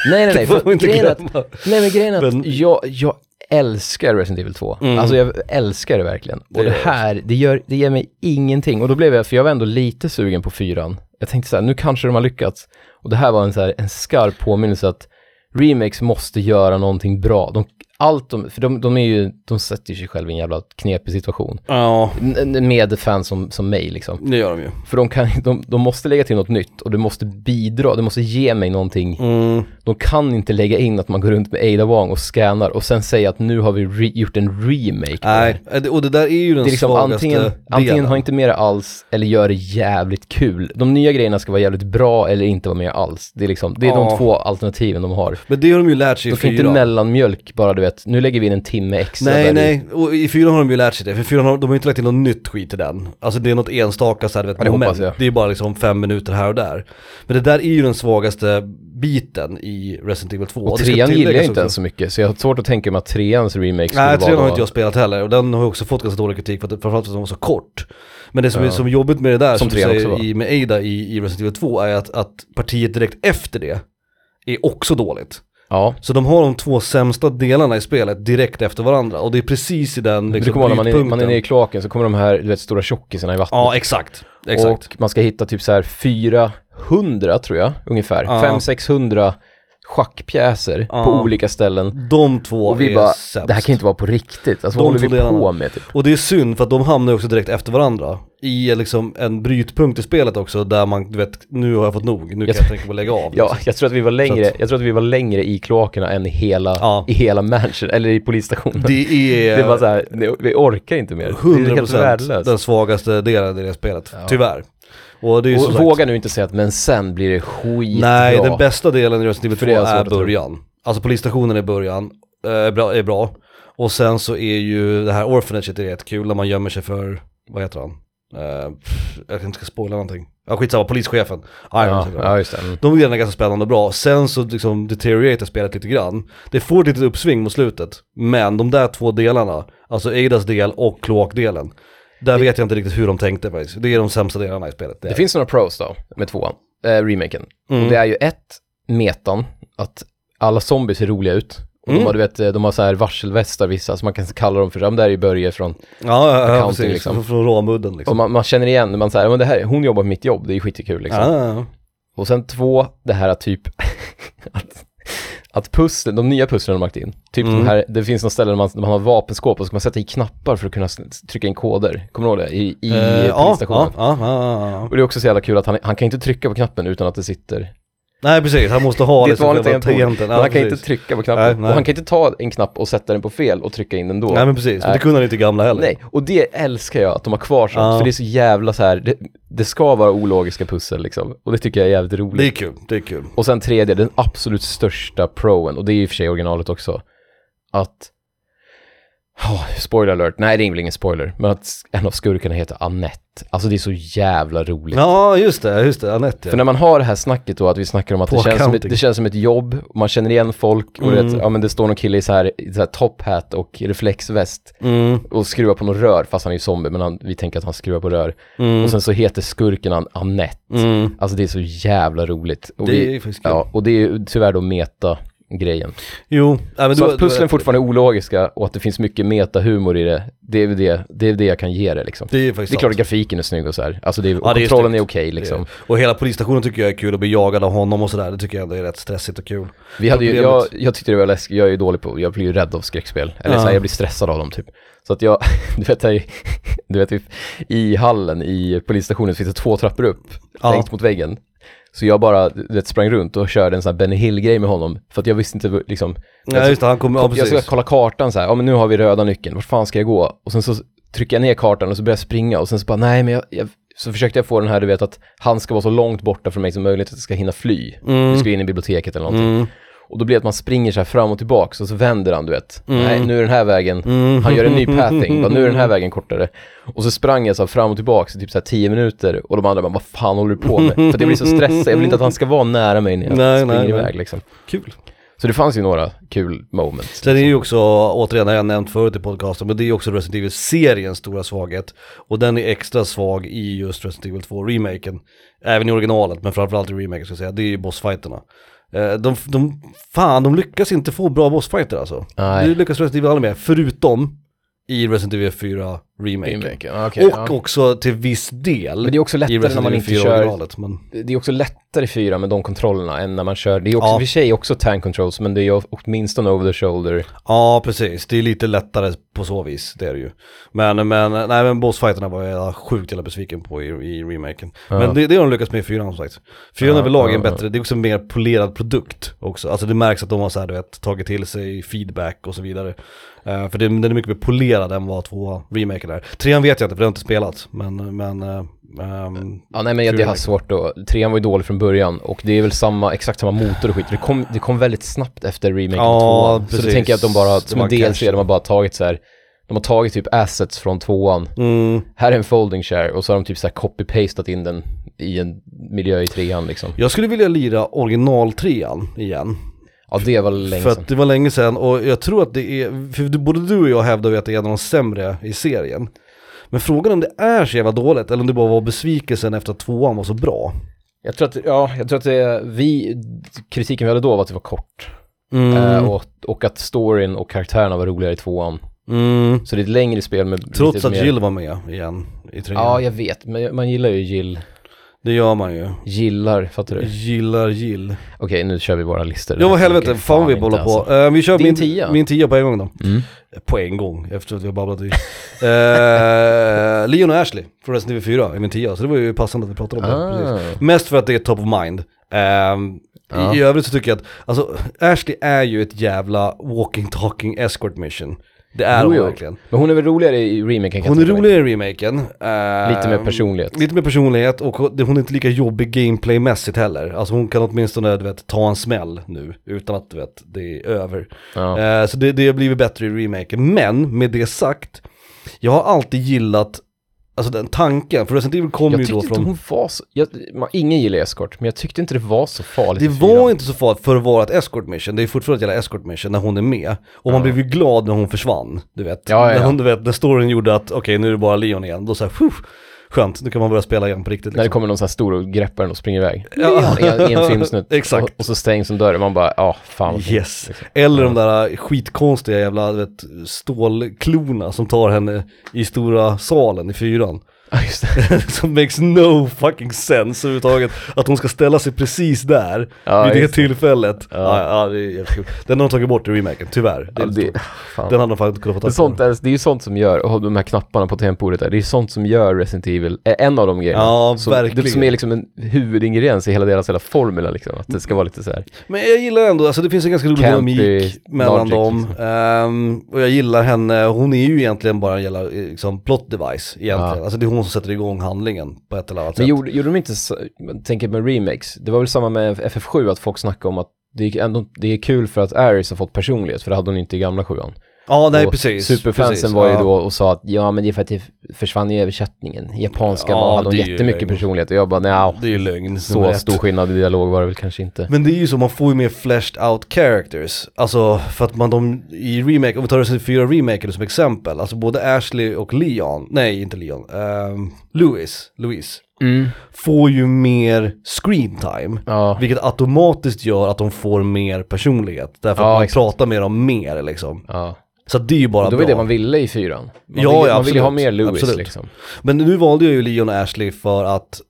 B: Nej nej
A: det
B: nej,
A: får
B: för
A: man inte
B: grejen är att
A: glömma.
B: Nej men grejen är att
A: Men-
B: jag, jag älskar Resident Evil 2.
A: Mm.
B: Alltså jag älskar det verkligen.
A: Det
B: och det
A: gör jag
B: här, det, gör, det ger mig ingenting. Och då blev jag, för jag var ändå lite sugen på fyran. Jag tänkte så här, nu kanske de har lyckats. Och det här var en, så här, en skarp påminnelse att remakes måste göra någonting bra. De, allt de, för de, de är ju, de sätter ju sig själva i en jävla knepig situation.
A: Ja,
B: N- n- Med fans som, som mig liksom.
A: det gör de ju.
B: För de, kan, de, de måste lägga till något nytt och det måste bidra, det måste ge mig någonting
A: Mm.
B: de kan inte lägga in att man går runt med Ada Wong och scannar och sen säga att nu har vi re- gjort en remake.
A: Nej, Äh, det- och det där är ju den
B: Det är liksom
A: svagaste
B: antingen, antingen
A: delen.
B: har inte med det alls eller gör det jävligt kul. De nya grejerna ska vara jävligt bra eller inte vara med alls. Det är liksom, det är
A: Ja.
B: de två alternativen de har.
A: Men det har de ju lärt sig i
B: De kan inte
A: fyra.
B: mellanmjölk bara du vet, nu lägger vi in en timme extra där
A: Nej,
B: i-
A: nej, och i fyran har de ju lärt sig det, för i fyran har de har ju inte lagt in något nytt skit i den. Alltså det är något enstaka så här, du vet,
B: Ja, det hoppas
A: moment.
B: jag.
A: Det är bara liksom fem minuter här och där. Men det där är ju den svagaste biten i Resident Evil 2.
B: Och
A: det ska
B: trean gillar jag
A: tilläggas
B: inte
A: också.
B: ens så mycket, så jag har svårt att tänka mig att treans remake skulle
A: Nej,
B: vara...
A: trean har inte jag spelat heller och den har ju också fått ganska dålig kritik för att, framförallt för att den var så kort. Men det som är
B: Ja.
A: som är jobbigt med det där, som,
B: Som
A: du
B: trean också
A: säger
B: var.
A: i, med Ada i, i Resident Evil 2, är att, att partiet direkt efter det är också dåligt.
B: Ja,
A: Så de har de två sämsta delarna i spelet direkt efter varandra och det är precis i den
B: det
A: liksom,
B: kommer ihåg när man är, man är
A: brytpunkten.
B: nere i kloaken så kommer de här, du vet, stora tjockisarna i vattnet.
A: Ja, exakt. Exakt.
B: Och man ska hitta typ så här 400 tror jag, ungefär.
A: Ja.
B: 500-600 schackpjäser på
A: Ja.
B: olika ställen.
A: de två
B: Och vi
A: är
B: bara,
A: sämst.
B: det här kan ju inte vara på riktigt. Alltså
A: De två
B: vad håller vi på
A: delarna.
B: med typ?
A: Och det är synd för att de hamnar ju också direkt efter varandra. I liksom en brytpunkt i spelet också där man, du vet, nu har jag fått nog, nu kan jag tänka på att lägga av. liksom.
B: Ja, jag tror att vi var längre,
A: Så att-
B: jag tror att vi var längre i kloakerna än i hela,
A: Ja.
B: i hela mansion, eller i polisstationen. Det,
A: Det är,
B: var så här, nej, vi orkar inte mer. det är helt
A: 100%
B: värdelöst.
A: den svagaste delen i det spelet,
B: Ja.
A: tyvärr. Och det är ju som
B: Och
A: sagt,
B: våga nu inte säga att men sen blir det skitbra.
A: nej den bästa delen i Resident
B: För
A: Evil
B: det
A: 2
B: är svårt
A: är
B: att tro.
A: början. Alltså polisstationen är början, eh, är bra, är bra. Och sen så är ju det här orphanaget är rätt kul när man gömmer sig för, vad heter han? Eh, pff, jag kanske inte ska spoila någonting. Ja skitsamma, polischefen. Ah, Iron
B: Ja,
A: heter han.
B: ja just det. Mm.
A: De grejerna är ganska spännande och bra. Sen så liksom deterioratar spelet lite grann. Det får ett litet uppsving mot slutet. Men de där två delarna, alltså Eidas del och kloakdelen. Där vet jag inte riktigt hur de tänkte faktiskt. Det är de sämsta delarna i spelet. Det
B: Det
A: är.
B: finns några pros då, med tvåan, eh, remaken. Och
A: Mm.
B: det är ju ett, metan, att alla zombies ser roliga ut. Och
A: Mm.
B: de, har, du vet, eh, de har så här varselvästar vissa, så man kan kalla dem för, ja, men det här är ju Börje från,
A: ja, ja, ja
B: accounting,
A: precis.
B: liksom.
A: Från- Från Råmudden
B: och
A: liksom.
B: man, man känner igen, när man säger, ja men det här, hon jobbar på mitt jobb, det är ju skitkul liksom.
A: Ja, ja, ja.
B: Och sen två, det här att typ att, att pussel, de nya pusslen de har lagt in, typ
A: Mm.
B: de här, det finns något ställe där man, där man har vapenskåp och så ska man sätta i knappar för att kunna s- trycka in koder, kommer du ihåg det? I, i
A: Eh, ja,
B: polisstationen.
A: ja, ja, ja, ja.
B: Och det är också så jävla kul att han, han kan inte trycka på knappen utan att det sitter,
A: Nej precis, han måste ha
B: det är ett
A: liksom
B: vanligt
A: själva
B: tangentbord, men
A: Ja,
B: han kan
A: precis.
B: inte trycka på knappen.
A: Nej, nej.
B: Och han kan inte ta en knapp och sätta den på fel och trycka in den då.
A: Nej men precis, men det
B: Nej.
A: kunde han inte i gamla heller.
B: Nej, och det älskar jag att de har kvar sånt,
A: Ja.
B: för det är så jävla så här, det, det ska vara ologiska pussel liksom. Och det tycker jag är jävligt roligt.
A: Det är kul, det är kul.
B: Och sen tredje, den absolut största proen, och det är i och för sig originalet också, att... Oh, spoiler alert, nej det är väl ingen spoiler, men att en av skurkarna heter Annette. Alltså det är så jävla roligt.
A: Ja just det, just det, Anette.
B: För när man har det här snacket då, att vi snackar om att
A: På
B: det känns, som ett,
A: accounting.
B: det känns som ett jobb, och man känner igen folk, och
A: Mm.
B: det, ja, men det står någon kille i så här, i så här top hat och reflexväst
A: Mm,
B: och skruvar på något rör, fast han är ju zombie, men han, vi tänker att han skruvar på rör.
A: mm,
B: Och sen så heter skurken han Annette.
A: mm.
B: Alltså det är så jävla roligt. Och vi-
A: Det är faktiskt kul.
B: Ja, och det är ju tyvärr då meta-grejen.
A: Jo, nej, men
B: Så
A: du-
B: att
A: du-
B: pusslen fortfarande är ologiska och att det finns mycket meta-humor i det, det är väl det, det, är det jag kan ge det liksom.
A: Det är faktiskt
B: Det är klart
A: sant.
B: att grafiken är snygg och så här. Alltså det är,
A: Ja,
B: och
A: det är
B: kontrollen är,
A: snyggt.
B: okej liksom.
A: Och hela polisstationen tycker jag är kul, att bli jagad av honom och sådär, det tycker jag ändå är rätt stressigt och kul.
B: Vi hade ju, jag,
A: Problemet-
B: jag tyckte det var läskigt, jag är ju dålig på, jag blir ju rädd av skräckspel. Eller
A: Ja.
B: så här, jag blir stressad av dem typ. Så att jag, du vet, här, i- du vet i, i hallen i polisstationen så finns det två trappor upp,
A: Ja.
B: längst mot väggen. Så jag bara, du vet, sprang runt och körde en sån här Benny Hill-grej med honom. För att jag visste inte liksom,
A: Nej just det, han kommer, ja
B: jag ska
A: precis.
B: kolla kartan så här, ja men nu har vi röda nyckeln, vart fan ska jag gå? Och sen så trycker jag ner kartan och så börjar jag springa och sen så bara, nej men jag, jag så försökte jag få den här, du vet att han ska vara så långt borta från mig som möjligt att jag ska hinna fly. Vi ska in i biblioteket eller någonting.
A: Mm.
B: Och då blir det att man springer så här fram och tillbaks och så vänder han, du vet.
A: Mm.
B: Nej, nu är den här vägen.
A: Mm.
B: Han gör en ny pathing, bara, nu är den här vägen kortare. Och så sprang jag så här fram och tillbaks i typ så här 10 minuter och de andra bara, vad fan håller du på med? För att jag blir så stressad, jag vill inte att han ska vara nära mig när jag
A: Nej,
B: springer
A: nej, nej.
B: iväg liksom.
A: Kul.
B: Så det fanns ju några kul moments.
A: Sen är ju också, återigen, det har jag nämnt förut i podcasten, men det är ju också Resident Evil-seriens stora svaghet. Och den är extra svag i just Resident Evil 2-remaken. Även i originalet, men framförallt i remaken ska jag säga, det är ju bossfighterna. Eh, De, de, fan, de lyckas inte få bra bossfighter alltså.
B: Nej.
A: Det lyckas Resident Evil aldrig med, förutom i Resident Evil 4-remaken.
B: Okej,
A: och
B: ja.
A: också till viss del
B: Men det är också
A: i
B: lättare när
A: Resident
B: man
A: Evil 4
B: inte kör,
A: originalet. Men...
B: det är också lättare i fyra med de kontrollerna än när man kör, det är också,
A: Ja.
B: i och för sig också tank controls, men det är ju åtminstone over the shoulder.
A: Ja, precis. Det är lite lättare på så vis, det är det ju. Men, men, nej, men bossfighterna var jag sjukt jävla besviken på i, i remaken. Men det, det har de lyckats med i fyran som sagt. Fyran
B: Ja,
A: överlag är en
B: ja, ja.
A: bättre, det är också en mer polerad produkt också. Alltså det märks att de har så här, du vet, tagit till sig feedback och så vidare. Eh, för det, den är mycket mer polerad än vad två remaken saker där. Trean vet jag inte för det har inte spelats, men... men eh, ehm,
B: Ja, nej men jag, det har svårt att... Trean var ju dålig från början och det är väl samma, exakt samma motor och skit. Det kom, det kom väldigt snabbt efter remaken
A: Ja,
B: av tvåan. Så
A: precis.
B: då tänker jag att de bara,
A: Det
B: som
A: var
B: en
A: en
B: DLC,
A: cash.
B: de har bara tagit så här, de har tagit typ assets från tvåan.
A: mm,
B: Här är en folding share och så har de typ så här copy-pastat in den i en miljö i trean liksom.
A: jag skulle vilja lira originaltrean igen.
B: Ja, det var länge
A: För
B: sedan.
A: att det var länge sedan och jag tror att det är, för du- både du och jag hävdar ju att det är en av de sämre i serien. Men frågan är om det är så jävla dåligt eller om det bara var besvikelsen efter att tvåan var så bra.
B: Jag tror att, ja, jag tror att det, vi, kritiken vi hade då var att det var kort.
A: Mm.
B: Eh, och, och att storyn och karaktärerna var roligare i tvåan.
A: Mm.
B: Så det är ett längre spel med
A: Trots
B: lite
A: att
B: mer-
A: Jill var med igen i trean.
B: Ja, jag vet, men jag- man gillar ju Jill.
A: Det gör man ju.
B: Gillar, fattar du? Okej,
A: Gillar Jill.
B: nu kör vi våra listor.
A: Mm. Ja vad
B: Jag
A: helvete,
B: tänker
A: fan vi
B: inte
A: bollar på.
B: alltså.
A: Eh, vi kör
B: Din
A: min
B: tia.
A: min tia på en gång då.
B: Mm.
A: På en gång, efter att vi har babblat i. Eh, Leon och Ashley från Resident Evil 4 är min tia, så det var ju passande att vi pratade om det. Precis.
B: Ah.
A: Mest för att det är top of mind. Ehm,
B: Ja.
A: I övrigt så tycker jag att, alltså Ashley är ju ett jävla walking talking escort mission. Det är
B: Jo,
A: hon
B: jo.
A: verkligen.
B: Men hon är väl roligare i remaken kan
A: Hon är
B: jag tänka mig.
A: roligare i remaken. Ehm,
B: Lite mer personlighet.
A: Lite mer personlighet och hon hon är inte lika jobbig gameplaymässigt heller. Alltså hon kan åtminstone du vet, ta en smäll nu utan att du vet, det är över.
B: Ja.
A: Eh, så det, det har blivit bättre i remaken. Men med det sagt, jag har alltid gillat Alltså den tanken, för Resident Evil kom
B: Jag
A: ju
B: tyckte
A: då
B: inte
A: från...
B: hon var så, jag, man, ingen gillar eskort, men jag tyckte inte det var så farligt
A: Det
B: i
A: var
B: fyran.
A: inte så farligt för att vara ett escort mission, det är fortfarande ett jävla escort mission när hon är med. Och man blev ju glad när hon försvann, du vet.
B: Ja, ja, ja.
A: När, hon, du vet när storyn gjorde att okej nu är det bara Leon igen, då såhär skönt, nu kan man börja spela igen på riktigt
B: När det
A: liksom.
B: kommer någon sån här stor och greppar den och springer iväg.
A: Ja.
B: I en, i en filmsnutt.
A: Exakt.
B: Och, och så stängs en dörr och man bara, ja, fan vad fint.
A: Yes, eller de där skitkonstiga jävla du vet, stålklorna som tar henne i stora salen i fyran.
B: Ja, just det.
A: som makes no fucking sense överhuvudtaget. Att hon ska ställa sig precis där
B: Ja,
A: vid det
B: just
A: tillfället. Ja.
B: Ja.
A: Ja, det är jävligt kul. Den har de tagit bort i remaken, tyvärr. Det
B: Ja,
A: är lite
B: det,
A: tråkigt.
B: fan.
A: Den hade de fan inte kunnat få
B: Det är,
A: tag
B: sånt, där- det är ju sånt som gör, och de här knapparna på tangentbordet där, det är sånt som gör Resident Evil, eh, en av de grejerna.
A: Ja,
B: som,
A: verkligen.
B: Det, som är liksom en huvudingrediens i hela deras hela formula liksom, att det ska vara lite så här.
A: Men jag gillar ändå, alltså det finns en ganska rolig
B: Campy,
A: dynamik mellan
B: logic,
A: dem.
B: liksom.
A: Ehm, och jag gillar henne, hon är ju egentligen bara en jävla eh, liksom, plot device egentligen.
B: Ja.
A: Alltså det är hon som sätter igång handlingen på ett eller annat
B: Men
A: sätt.
B: gjorde, gjorde de inte, så- jag tänker med remakes, det var väl samma med FF7, att folk snackade om att det är, ändå, det är kul för att Ares har fått personlighet, för det hade hon inte i gamla sjuan.
A: Ja, nej
B: och
A: precis.
B: Superfansen
A: precis,
B: var ju
A: ja.
B: då och sa att ja men det är för att det försvann i översättningen. Japanska
A: Ja,
B: var, hade hon
A: det är ju
B: jättemycket
A: lögn.
B: personlighet och jag bara nja,
A: Det är ju lögn. nummer
B: så
A: ett.
B: stor skillnad i dialog var det väl kanske inte.
A: Men det är ju så, man får ju mer fleshed out characters. Alltså för att man de i remake, om vi tar Resident 4 remaken som exempel, alltså både Ashley och Leon, nej inte Leon, ehm, Louis, Louise, får ju mer screen time.
B: Ja,
A: Vilket automatiskt gör att de får mer personlighet. Därför
B: Ja,
A: att man
B: exakt.
A: pratar med dem mer liksom.
B: ja.
A: Så att det är ju bara
B: Det var ju
A: bra.
B: det man ville i fyran. Man
A: Ja,
B: ville,
A: ja,
B: man ville ju ha
A: absolut.
B: mer Lewis
A: Absolut.
B: liksom.
A: Men nu valde jag ju Leon och Ashley för att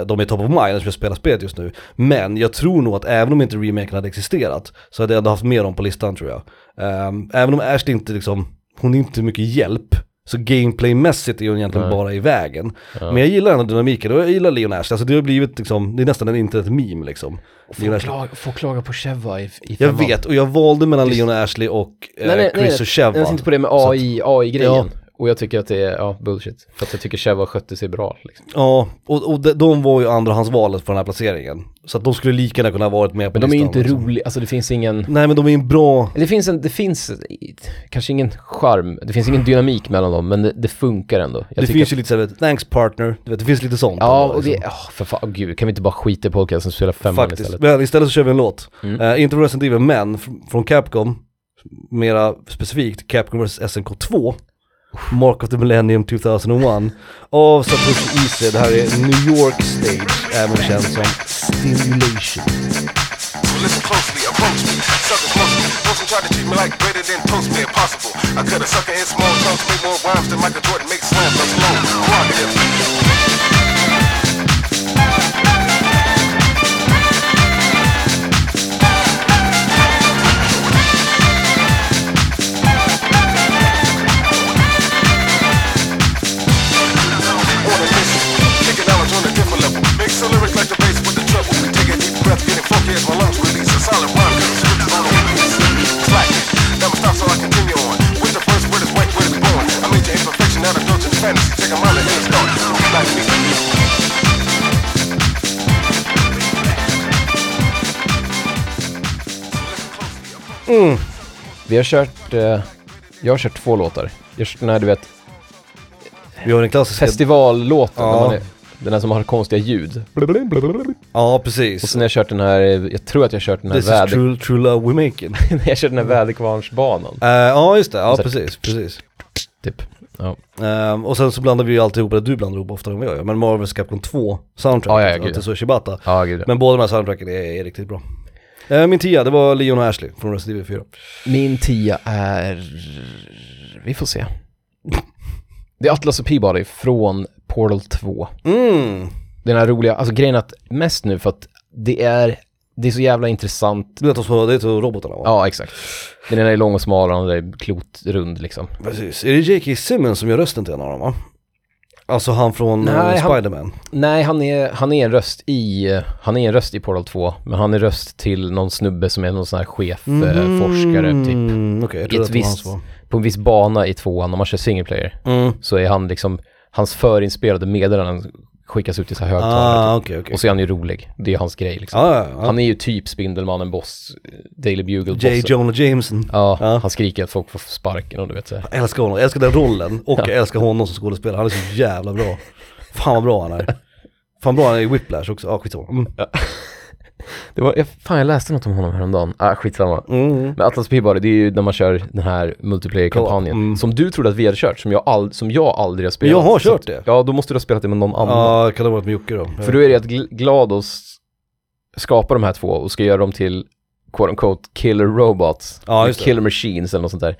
A: eh, de är top of mind eftersom jag spelar spelet just nu. Men jag tror nog att även om inte remaken hade existerat så hade jag ändå haft med dem på listan tror jag. Ehm, även om Ashley inte liksom, hon är inte mycket hjälp. Så gameplaymässigt är hon egentligen
B: Nej.
A: bara i vägen.
B: Ja.
A: Men jag gillar ändå dynamiken och jag gillar Leon och Ashley. Alltså det har blivit liksom, det är nästan en internet-meme liksom. Leon och Ashley.
B: klaga, får klaga på Cheva i, i
A: Jag vet, och jag valde mellan
B: Just-
A: Leon och Ashley och eh,
B: Nej, nej,
A: Chris
B: nej,
A: och Cheva.
B: Jag tänkte på det med AI, AI-grejen. Och jag tycker att det är, ja, bullshit. För att jag tycker Cheva skötte sig bra liksom.
A: Ja, och, och de, de var ju andrahandsvalet för den här placeringen. Så att de skulle lika gärna kunna ha varit med på
B: Men de är ju
A: listan,
B: inte
A: liksom.
B: roliga, alltså det finns ingen...
A: Nej men de är en bra,
B: Det finns, en, det finns i- kanske ingen charm, det finns ingen dynamik mellan dem, men det, det funkar ändå. Jag
A: det
B: tycker
A: finns
B: att-
A: ju lite såhär, thanks partner, du vet, det finns lite sånt.
B: Ja,
A: ändå,
B: och det,
A: liksom.
B: åh, för fan, åh, gud, kan vi inte bara skita i podcasten och spela femman
A: Faktiskt,
B: istället?
A: men istället så kör vi en låt.
B: Mm.
A: Eh, inte från Resident Evil, men fr- från Capcom, mera specifikt Capcom vs SNK2, Mark of the Millennium 2001, av Satoshi Ise. Det här är New York Stage, även känd som Stimulation.
C: Listen closely, approach me, suckers mostly. Wilson tried to treat me like greater than toast me, impossible. I cut a sucker in small chunks, make more rhymes than Michael Jordan makes slams. I'm slow, provocative. On a mission, kicking knowledge on a different level. Mix the lyrics like the bass with the treble. We take a deep breath, getting funky as my lungs release a solid rhyme. Cause it's on the release. Slack it, never stop so I continue on. With the first word is wet, word is born. I made your imperfection out of dodging
B: Vi har kört, eh, jag har kört två låtar. Jag har kört den här, du vet,
A: Vi har den klassiska...
B: festivallåten.
A: Ja.
B: när man är- Den här som har konstiga ljud.
A: ja,
B: Och
A: precis.
B: sen har jag kört den här, eh, jag tror att jag har kört den här,
A: This is
B: väder,
A: true, true love we're making.
B: jag har kört den här väderkvarnsbanan.
A: Eh, ja, just det. Ja,
B: Så här-
A: precis. precis.
B: Typ. Ja.
A: Ehm, och sen så blandar vi ju alltid ihop, eller du blandar ihop oftare än vad jag gör, men Marvels Capcom 2 soundtrack alltså,
B: Ja, ja, ja,
A: till-
B: gud, ja.
A: till Sushibata.
B: Ja, gud.
A: Men båda de här soundtracken är, är riktigt bra. Eh, min tia, det var Leon och Ashley från Resident Evil 4.
B: Min tia är... Vi får se. Det är Atlas och Peabody från Portal 2.
A: Mm,
B: Den här roliga, alltså grejen är att mest nu för att det är, det är så jävla intressant.
A: du vet de små, det är till robotarna va?
B: Ja, exakt. Den ena är lång och smal och den andra är klotrund liksom.
A: Precis. Är det J.K. Simmons som gör rösten till en av dem va? Alltså han från eh,
B: Nej, han-
A: Spiderman.
B: Nej, han är, han är en röst i, han är en röst i Portal 2, men han är röst till någon snubbe som är någon sån här chef, eh, forskare typ.
A: Mm, Okej, jag trodde
B: I ett
A: att det var han
B: visst,
A: som var.
B: på en viss bana i tvåan, om man kör single player,
A: Mm.
B: så är han liksom, hans förinspelade meddelanden skickas ut i så här högtalare.
A: Ah, okej,
B: typ.
A: okej. Ah,
B: Och så är han ju rolig, det är hans grej liksom.
A: Ja, ja, ja.
B: Han är ju typ Spindelmannen, boss, eh, Daily Bugle,
A: J.
B: boss.
A: Jonah Jameson.
B: Ja,
A: Ja.
B: han skriker att folk får sparken och du vet så här.
A: Jag älskar honom, jag älskar den rollen och jag älskar honom som skådespelare. Han är så jävla bra. Fan vad bra han är. Fan bra han är i Whiplash också, ja ah, skitsamma. Mm.
B: Det var, jag, fan jag läste något om honom häromdagen. Ah, skitsamma.
A: Mm.
B: Men Atlas Peabody, det är ju när man kör den här multiplayer-kampanjen.
A: Co-op, mm.
B: Som du trodde att vi hade kört, som jag, all, som jag aldrig har spelat.
A: Jag har
B: Så
A: kört
B: att-
A: det.
B: Ja, då måste du ha spelat det med någon annan.
A: Ja, kan det ha varit med Jocke då?
B: För då är det att Gl- Glados skapar de här två och ska göra dem till quote unquote killer robots.
A: Ja,
B: eller
A: just det.
B: killer machines eller något sånt där.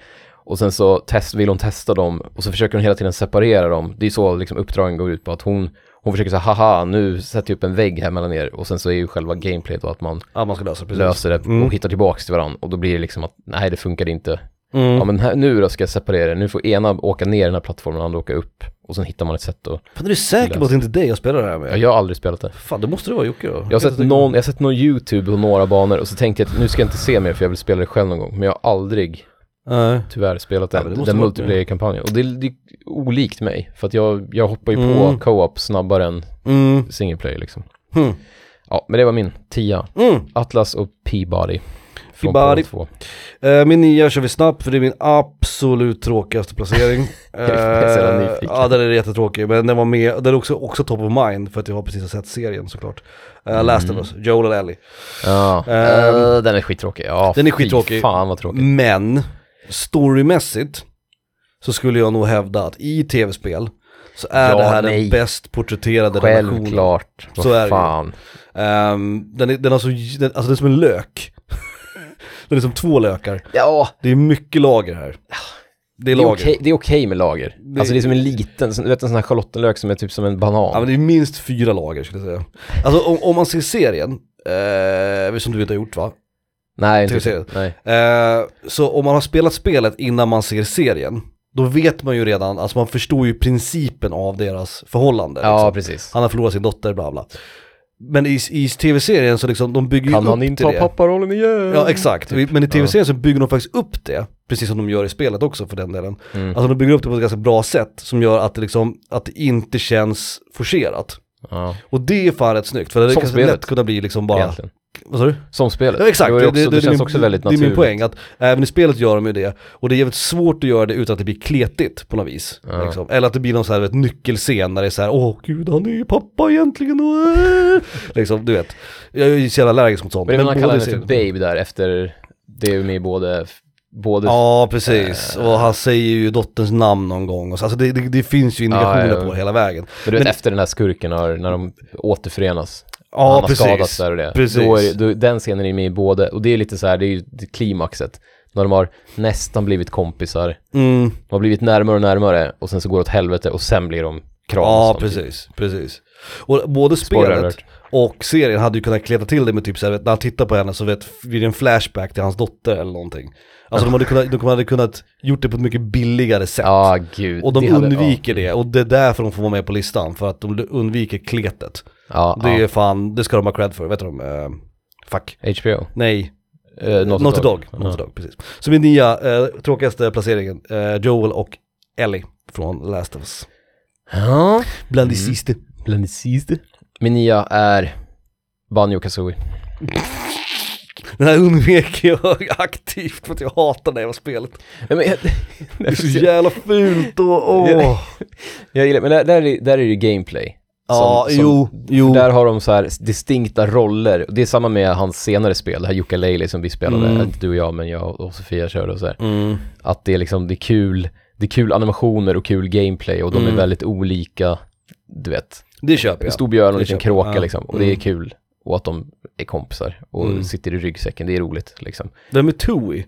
B: Och sen så test, vill hon testa dem och så försöker hon hela tiden separera dem. Det är så liksom uppdragen går ut på att hon, hon försöker säga haha nu sätter jag upp en vägg här mellan er och sen så är ju själva gameplayet då att man
A: Ja, man ska lösa det, precis.
B: löser det
A: Mm.
B: och hittar tillbaks till varandra och då blir det liksom att nej det funkade inte.
A: Mm.
B: Ja men här, nu då ska jag separera det, nu får ena åka ner i den här plattformen och andra åka upp och sen hittar man ett sätt att,
A: Fan, är du säker på att det inte är dig jag spelar det här
B: ja,
A: med?
B: jag har aldrig spelat det.
A: Fan, det måste det vara Jocke då.
B: Jag har, sett någon, jag har sett någon YouTube och några banor och så tänkte jag att nu ska jag inte se mer för jag vill spela det själv någon gång. Men jag har aldrig
A: Nej.
B: tyvärr spelat
A: Ja, men det
B: den,
A: måste
B: den
A: vara-
B: multiplayer-kampanjen. Och det, är- det är olikt mig, för att jag, jag hoppar ju
A: Mm.
B: på co-op snabbare än
A: Mm.
B: single player liksom.
A: Hmm.
B: Ja, men det var min tia.
A: Mm.
B: Atlas och Peabody. Från
A: Peabody.
B: Peabody. 2.
A: Eh, Min nia kör vi snabbt för det är min absolut tråkigaste placering.
B: är så jävla
A: Eh,
B: nyfiken.
A: Ja den är jättetråkig men den var med, den är också, också top of mind för att jag har precis har sett serien såklart. Uh,
B: Mm.
A: Last of us, Joel och Ellie.
B: Ja, eh, den är skittråkig. Ja,
A: Ehm, den är
B: fy
A: skittråkig.
B: fan vad tråkig.
A: Men storymässigt så skulle jag nog hävda att i tv-spel så är
B: Ja,
A: det här den
B: nej.
A: bäst porträtterade relationen.
B: Självklart. Vad
A: Så är det ju.
B: fan.
A: Ehm, den, är, den, har så, den, alltså den är som en lök. den är som två lökar.
B: Ja,
A: Det är mycket lager här. Det är
B: det är
A: lager.
B: okej det är okej med lager. Alltså det är som en liten, du vet en sån här schalottenlök som är typ som en banan.
A: Ja men det är minst fyra lager skulle jag säga. Alltså om, om man ser serien, eh, som du inte har gjort va?
B: Nej, inte
A: Till
B: riktigt. Nej.
A: Eh, så om man har spelat spelet innan man ser serien, då vet man ju redan, alltså man förstår ju principen av deras förhållande.
B: Ja,
A: liksom.
B: precis.
A: Han har förlorat sin dotter, bla bla. Men i, i tv-serien så liksom, de bygger
B: Kan
A: ju upp
B: han inte Typ.
A: till det.
B: ha papparollen igen?
A: Ja exakt, men i tv-serien så bygger de faktiskt upp det, precis som de gör i spelet också för den delen.
B: Mm.
A: Alltså de bygger upp det på ett ganska bra sätt som gör att det, liksom, att det inte känns forcerat.
B: Ja,
A: Och det är fan rätt snyggt, för det
B: Som
A: kan
B: spelet.
A: lätt kunna bli liksom bara...
B: egentligen.
A: Vad sa du?
B: Som spelet.
A: Ja exakt,
B: det, var ju också, det,
A: är
B: känns
A: min-
B: också väldigt
A: det är
B: naturligt.
A: min poäng att även i spelet gör de ju det. Och det är jävligt svårt att göra det utan att det blir kletigt på något vis.
B: Ja.
A: Liksom. Eller att det blir någon så här vet, nyckelscen där det är så här, åh gud han är ju pappa egentligen och äh." Liksom, du vet. Jag är ju så jävla allergisk mot sånt.
B: Men det man
A: båda
B: kallar henne
A: ser-
B: för Babe där efter, det är ju med i både, både
A: Ja precis,
B: Eh.
A: och han säger ju dotterns namn någon gång. Och så. Alltså det, det, det finns ju indikationer
B: Ja, ja.
A: på hela vägen.
B: men du vet
A: men-
B: efter den här skurken har, när de återförenas.
A: Ja,
B: han har
A: precis.
B: skadats där och det.
A: Precis.
B: Då är, det- då, den scenen är med i både, och det är lite så här, det är ju det klimaxet. När de har nästan blivit kompisar,
A: Mm.
B: de har blivit närmare och närmare och sen så går det åt helvete och sen blir de kramas.
A: Ja,
B: samtidigt.
A: precis, precis. Och både
B: typ. Spoiler
A: spelet
B: alert.
A: och serien hade ju kunnat kleta till det med typ så här, vet, när han tittar på henne så vet, blir det en flashback till hans dotter eller någonting. Alltså de hade kunnat, de hade kunnat gjort det på ett mycket billigare sätt.
B: Ja, gud.
A: och de
B: det hade-
A: undviker det, och det är därför de får vara med på listan, för att de undviker kletet.
B: Ja,
A: Det
B: ja,
A: är fan, det ska de ha cred för, vet du de, eh, fuck.
B: ja. HBO.
A: Nej,
B: Eh, Naughty,
A: Naughty Dog. Naughty Dog, precis. Så min nya, eh, tråkigaste placeringen, eh, Joel och Ellie från Last of Us.
B: Ja.
A: Bland
B: Mm.
A: de sista.
B: Bland det sista. Min nia är Banjo Kazooie.
A: Den här undvek jag aktivt för att jag hatar det här spelet.
B: Nej, men jag,
A: Det är så jävla fult och åh.
B: jag gillar, men där, där, är, där är det ju gameplay.
A: Ja,
B: som-
A: jo, jo.
B: Där har de så här distinkta roller. Det är samma med hans senare spel, det här Jukka Leili som vi spelade,
A: Mm.
B: inte du och jag men jag och Sofia körde och så här.
A: Mm.
B: Att det är liksom, det är kul, det är kul animationer och kul gameplay och de
A: Mm.
B: är väldigt olika, du vet.
A: Det köper
B: En
A: jag.
B: stor björn och en
A: det
B: liten
A: köper jag.
B: kråka
A: Ja. Mm.
B: liksom. Och det är kul. Och att de är kompisar och sitter i ryggsäcken, det är roligt liksom.
A: Vem är Tui?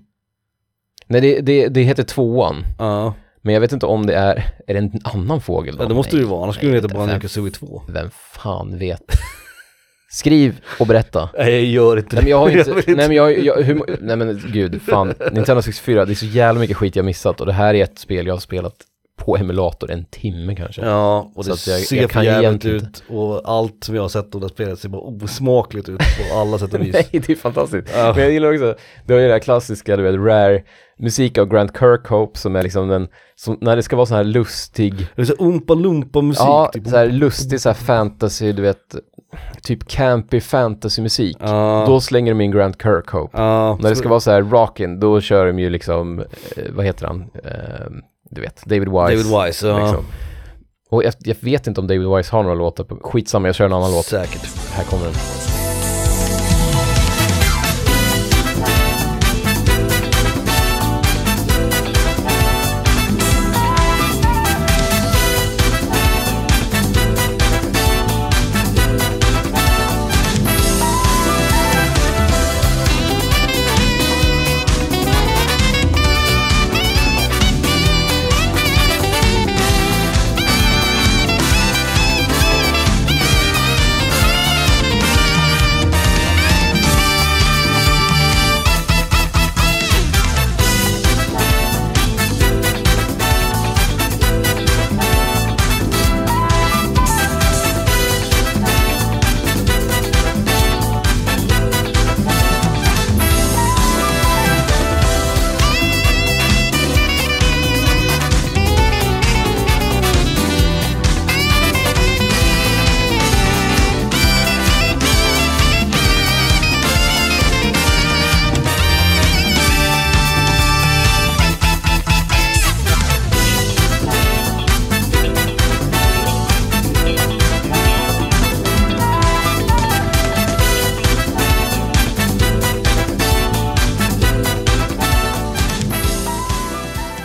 B: Nej, det, det, det heter tvåan.
A: Ja,
B: Men jag vet inte om det är, är det en annan fågel då?
A: det måste det
B: Nej.
A: ju vara, annars skulle den heta
B: nej,
A: bara
B: vem-
A: Nike Sui 2.
B: Vem fan vet? Skriv och berätta.
A: Nej, gör inte det.
B: Nej men jag har ju
A: vill
B: inte, nej men jag, jag hur, må- nej men gud, fan. Nintendo 64, det är så jävla mycket skit jag missat och det här är ett spel jag har spelat på emulator en timme kanske.
A: Ja, och
B: Så
A: det
B: att jag-
A: ser
B: jag
A: för
B: kan ju
A: jävligt
B: egentligen
A: ut och allt som jag har sett av det här spelet ser bara osmakligt ut på alla sätt och vis.
B: Nej, det är fantastiskt.
A: Ja.
B: Men jag gillar också, det har ju det här klassiska, du vet, rare musik av Grant Kirkhope som är liksom den, som, när det ska vara så här lustig,
A: Det är så umpa lumpa musik
B: ja,
A: typ.
B: så här lustig så här fantasy, du vet, typ campy fantasymusik.
A: Ja.
B: Då slänger de in Grant Kirkhope.
A: Ja,
B: När det ska vara så här rockin', då kör de ju liksom, eh, vad heter han, eh, du vet, David Wise.
A: David Wise, ja.
B: liksom. Och jag, jag vet inte om David Wise har några låtar på, skitsamma jag kör en annan låt.
A: Säkert.
B: Här kommer den.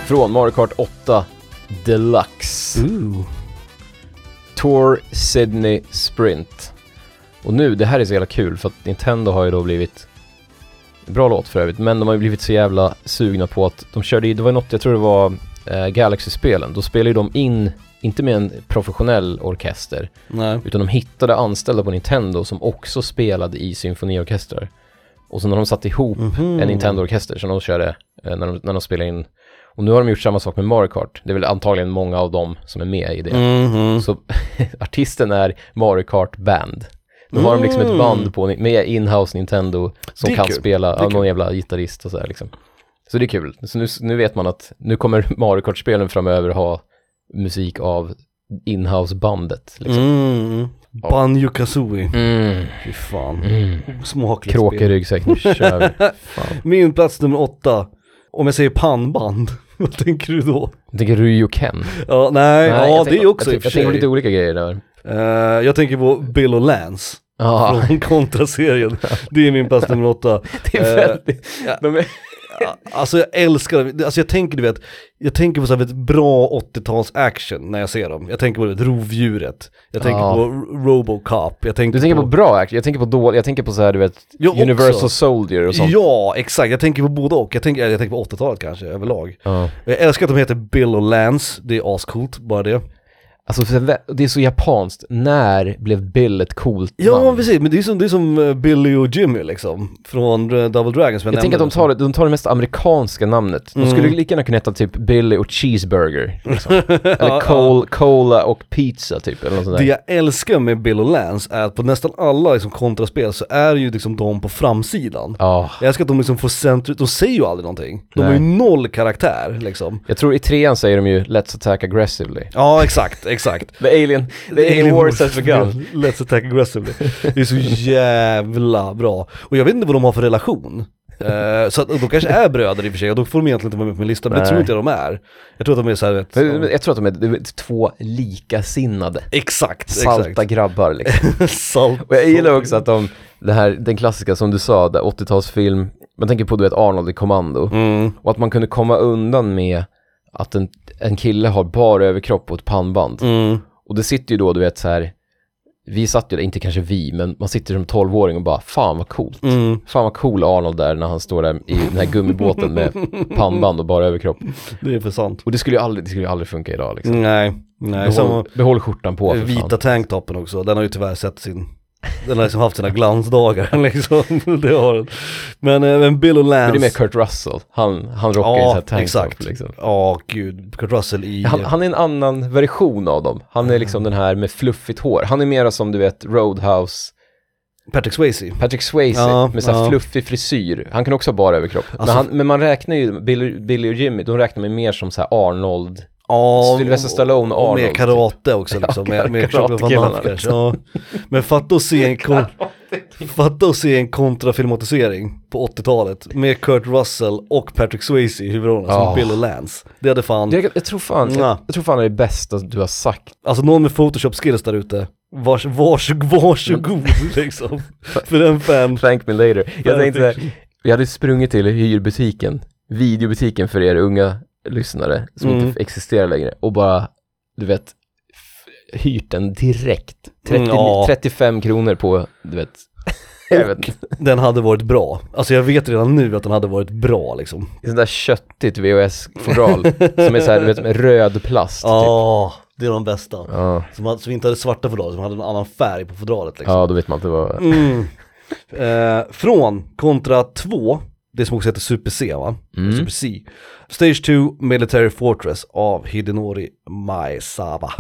B: Från Mario Kart 8 Deluxe.
A: Ooh.
B: Tour Sydney Sprint. Och nu, det här är så jävla kul för att Nintendo har ju då blivit Bra låt för övrigt, men de har ju blivit så jävla sugna på att de körde ju, det var ju något, jag tror det var eh, Galaxy-spelen, då spelade ju de in, inte med en professionell orkester,
A: Nej.
B: utan de hittade anställda på Nintendo som också spelade i symfoniorkestrar. Och så när de satte ihop
A: Mhm.
B: en Nintendo-orkester som de körde eh, när, de, när de spelade in. Och nu har de gjort samma sak med Mario Kart. Det är väl antagligen många av dem som är med i det.
A: Mhm.
B: Så artisten är Mario Kart Band. Då har de liksom ett band på, med inhouse Nintendo som
A: Mm. Det är
B: kan
A: kul.
B: spela,
A: är
B: ja, någon jävla gitarrist och sådär liksom. Så det är kul. Så nu, nu vet man att nu kommer Mario Kart-spelen framöver ha musik av inhouse-bandet. Liksom.
A: Mm. Banjo Kazooie.
B: Mm.
A: Fy fan.
B: Mm.
A: Osmakligt
B: Kråka i
A: spel.
B: ryggsäck, nu kör vi. Fan.
A: Min plats nummer åtta. Om jag säger pannband, vad tänker du då?
B: Jag tänker Ryu och Ken.
A: Ja, nej,
B: Nej,
A: ja
B: jag
A: det
B: tänker-
A: är också i och
B: jag,
A: för
B: jag
A: sig.
B: tänker på lite olika grejer där.
A: Eh, jag tänker på Bill och Lance
B: Ja,
A: från Kontra-serien. Det är min plats nummer åtta.
B: Ah. det är
A: Eh,
B: väldigt...
A: ja.
B: De är,
A: Ja, Alltså jag älskar dem, alltså jag tänker du vet, jag tänker på så här, vet, bra 80-tals action när jag ser dem. Jag tänker på det, rovdjuret, jag tänker
B: Ja.
A: på R- Robocop, jag tänker
B: Ah. du tänker på bra action, jag tänker på dålig, jag tänker på så här, du vet,
A: Jag också.
B: Universal Soldier och sånt.
A: Ja, exakt, jag tänker på både och. Jag tänker, jag tänker på 80-talet kanske, överlag.
B: Ja.
A: Jag älskar att de heter Bill och Lance, det är ascoolt, bara det.
B: Alltså, för vä- det är så japanskt. När blev Bill ett coolt
A: Ja
B: namn?
A: precis, men det är som, det är som eh, Billy och Jimmy liksom, från eh, Double Dragon som jag,
B: Jag tänker att de
A: nämnde.
B: tar, det- de tar det mest amerikanska namnet. De skulle
A: Mm.
B: lika gärna kunna heta typ Billy och Cheeseburger. Liksom. Eller Col- Cola och Pizza typ, eller något sånt
A: Det
B: där.
A: jag älskar med Bill och Lance är att på nästan alla liksom, kontraspel så är ju liksom de på framsidan.
B: Ja.
A: Jag älskar att de liksom får centrum, de säger ju aldrig någonting. De
B: Nej.
A: har ju noll karaktär liksom.
B: Jag tror i trean säger de ju Let's attack aggressively.
A: Ja exakt, exakt.
B: The alien, the alien wars has begun.
A: Let's attack aggressively. Det är så jävla bra. Och jag vet inte vad de har för relation. Eh, så att de kanske är bröder i och för sig, och då får de egentligen inte vara med på min lista, men det
B: Nej.
A: tror inte jag de är. Jag tror att de är såhär, vet,
B: Men Jag tror att de är du vet, två likasinnade,
A: Exakt,
B: salta
A: exakt.
B: grabbar liksom.
A: Salt.
B: Och jag gillar också att de, det här, den klassiska som du sa, där 80-talsfilm, man tänker på du vet Arnold i Kommando,
A: Mm.
B: och att man kunde komma undan med att en, en kille har bara överkropp och ett pannband.
A: Mm.
B: Och det sitter ju då, du vet så här, vi satt ju där, inte kanske vi, men man sitter som 12-åring och bara, fan vad coolt.
A: Mm.
B: Fan vad cool Arnold där när han står där i den här gummibåten med pannband och bara överkropp.
A: Det är för sant.
B: Och det skulle ju aldrig, det skulle ju aldrig funka idag liksom.
A: Nej, nej. Samma
B: Behåll, behåll skjortan på för
A: Mm. vita
B: fan.
A: tanktoppen också, den har ju tyvärr sett sin, den har liksom haft sina glansdagar liksom. Det har den. Men, eh, men Bill och
B: Men
A: Lance.
B: det är mer Kurt Russell, han, han rockar ju så här
A: Ja,
B: tanktop
A: exakt.
B: liksom.
A: Ja, gud. Kurt Russell i...
B: Han, han är en annan version av dem. Han är
A: Mm.
B: liksom den här med fluffigt hår. Han är mera som du vet Roadhouse,
A: Patrick Swayze.
B: Patrick Swayze
A: Ja,
B: med så här
A: ja.
B: fluffig frisyr. Han kan också ha bara överkropp.
A: Alltså-
B: men, han, men man räknar ju, Billy, Billy och Jimmy, de räknar man ju mer som så här Arnold.
A: Ja,
B: Sylvester Stallone och
A: och
B: Arnold. typ.
A: med karate också liksom.
B: Ja,
A: med, med
B: karatekillarna,
A: Jean-Claude Van Damme kanske.
B: liksom.
A: ja. Men fatta att se en, kon- fatta att se en kontrafilmatisering på 80-talet med Kurt Russell och Patrick Swayze i huvudrollerna
B: Ja.
A: som Bill och Lance. Det hade fan,
B: Jag, jag tror fan, jag,
A: Ja.
B: jag tror fan det är det bästa du har sagt.
A: alltså någon med photoshop skills där ute, vars, vars, varsågod liksom. För den fan.
B: Thank me later. Jag tänkte, jag hade sprungit till hyrbutiken, videobutiken för er unga lyssnare som
A: Mm.
B: inte existerar längre och bara, du vet, f- hyrt den direkt. 30,
A: Mm, ja.
B: 35 kronor på, du vet, jag vet inte,
A: Den hade varit bra. Alltså jag vet redan nu att den hade varit bra liksom.
B: sånt där köttigt VHS-fodral som är så här, du vet, med röd plast. Typ.
A: Ja, Ah, det är de bästa.
B: Ja,
A: Som, hade- som inte hade svarta fodral, som hade en annan färg på fodralet liksom.
B: ja, då vet man inte vad...
A: Mm. Eh, från kontra 2, det som också heter Super C va? Super C. Stage 2 Military Fortress av Hidenori Maezawa.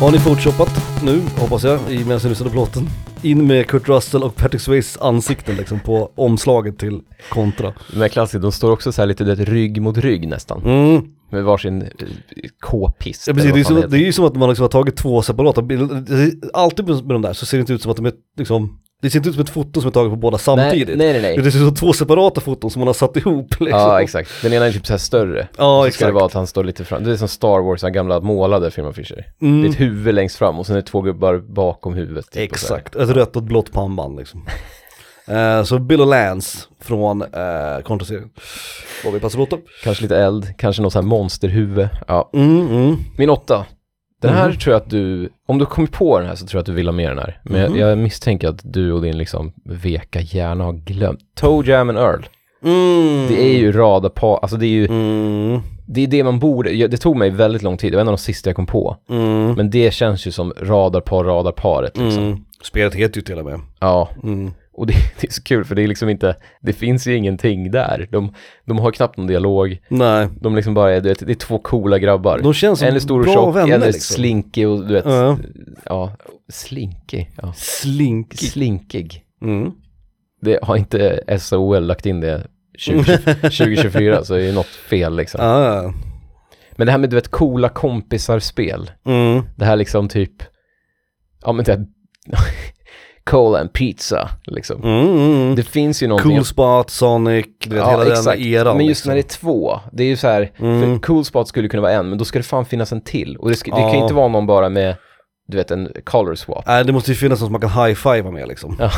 A: Har ni photoshopat nu, hoppas jag, i medan ni lyssnar på låten? In med Kurt Russell och Patrick Swayzes ansikten liksom på omslaget till kontra.
B: De här klassikerna, de står också så här lite, du vet, rygg mot rygg nästan.
A: Mm.
B: Med varsin eh, k-pist.
A: Ja, precis.
B: eller
A: Det, är
B: vad fan
A: som, det
B: heter.
A: är ju som att man liksom har tagit två separata bilder. Det- Alltid med de där så ser det inte ut som att de är liksom, det ser inte ut som ett foto som är taget på båda samtidigt.
B: Nej, nej, nej. nej.
A: Det ser ut som två separata foton som man har satt ihop liksom.
B: Ja, exakt. Den ena är typ så här större.
A: Ja,
B: så ska det
A: exakt.
B: vara att han står lite fram. Det är som Star Wars, den gamla målade filmen Fisher. Det är
A: Mm.
B: ett huvud längst fram och sen är det två gubbar bakom huvudet. typ, och så här.
A: Exakt, ett rött och ett blått pannband liksom. Eh, så Bill och Lance från eh, kontraserien. Vad vi passar låt upp.
B: Kanske lite eld, kanske något så här monsterhuvud. Ja.
A: Mm, mm.
B: Min åtta. Den här
A: Mhm.
B: tror jag att du, om du kommer på den här så tror jag att du vill ha med den här. Men
A: Mhm.
B: jag, jag misstänker att du och din liksom veka hjärna har glömt. Toe Jam and Earl.
A: Mm.
B: Det är ju radapar, alltså det är ju,
A: Mm,
B: det är det man borde, jag- det tog mig väldigt lång tid, det var en av de sista jag kom på.
A: mm,
B: Men det känns ju som radarpar, radarparet liksom.
A: mm. Spelet heter ju till och med.
B: Ja,
A: Mm.
B: Och det, det är så kul för det är liksom inte, det finns ju ingenting där. De, de har knappt någon dialog.
A: Nej,
B: De liksom bara är, du vet, det är två coola grabbar.
A: de känns som
B: en är stor och
A: bra
B: tjock,
A: vänner
B: en är
A: liksom.
B: slinkig och du vet,
A: Ja.
B: ja, slinkig, ja.
A: Slinkig.
B: Slinkig.
A: Mm.
B: Det har inte SOL lagt in det 20, 2024 så det är något fel liksom.
A: Ah.
B: Men det här med du vet coola kompisar-spel.
A: Mm.
B: Det här liksom typ, ja men det här cola and pizza liksom.
A: Mm, mm, mm.
B: Det finns ju någonting...
A: Cool Spot, Sonic, du vet hela den eran.
B: men just
A: liksom.
B: när det är två, det är ju så här,
A: Mm.
B: för cool spot skulle kunna vara en, men då ska det fan finnas en till. Och det, ska, det kan ju
A: Ja.
B: inte vara någon bara med, du vet, en color swap.
A: Nej, det måste ju finnas någon som man kan high-fivea med liksom.
B: Ja,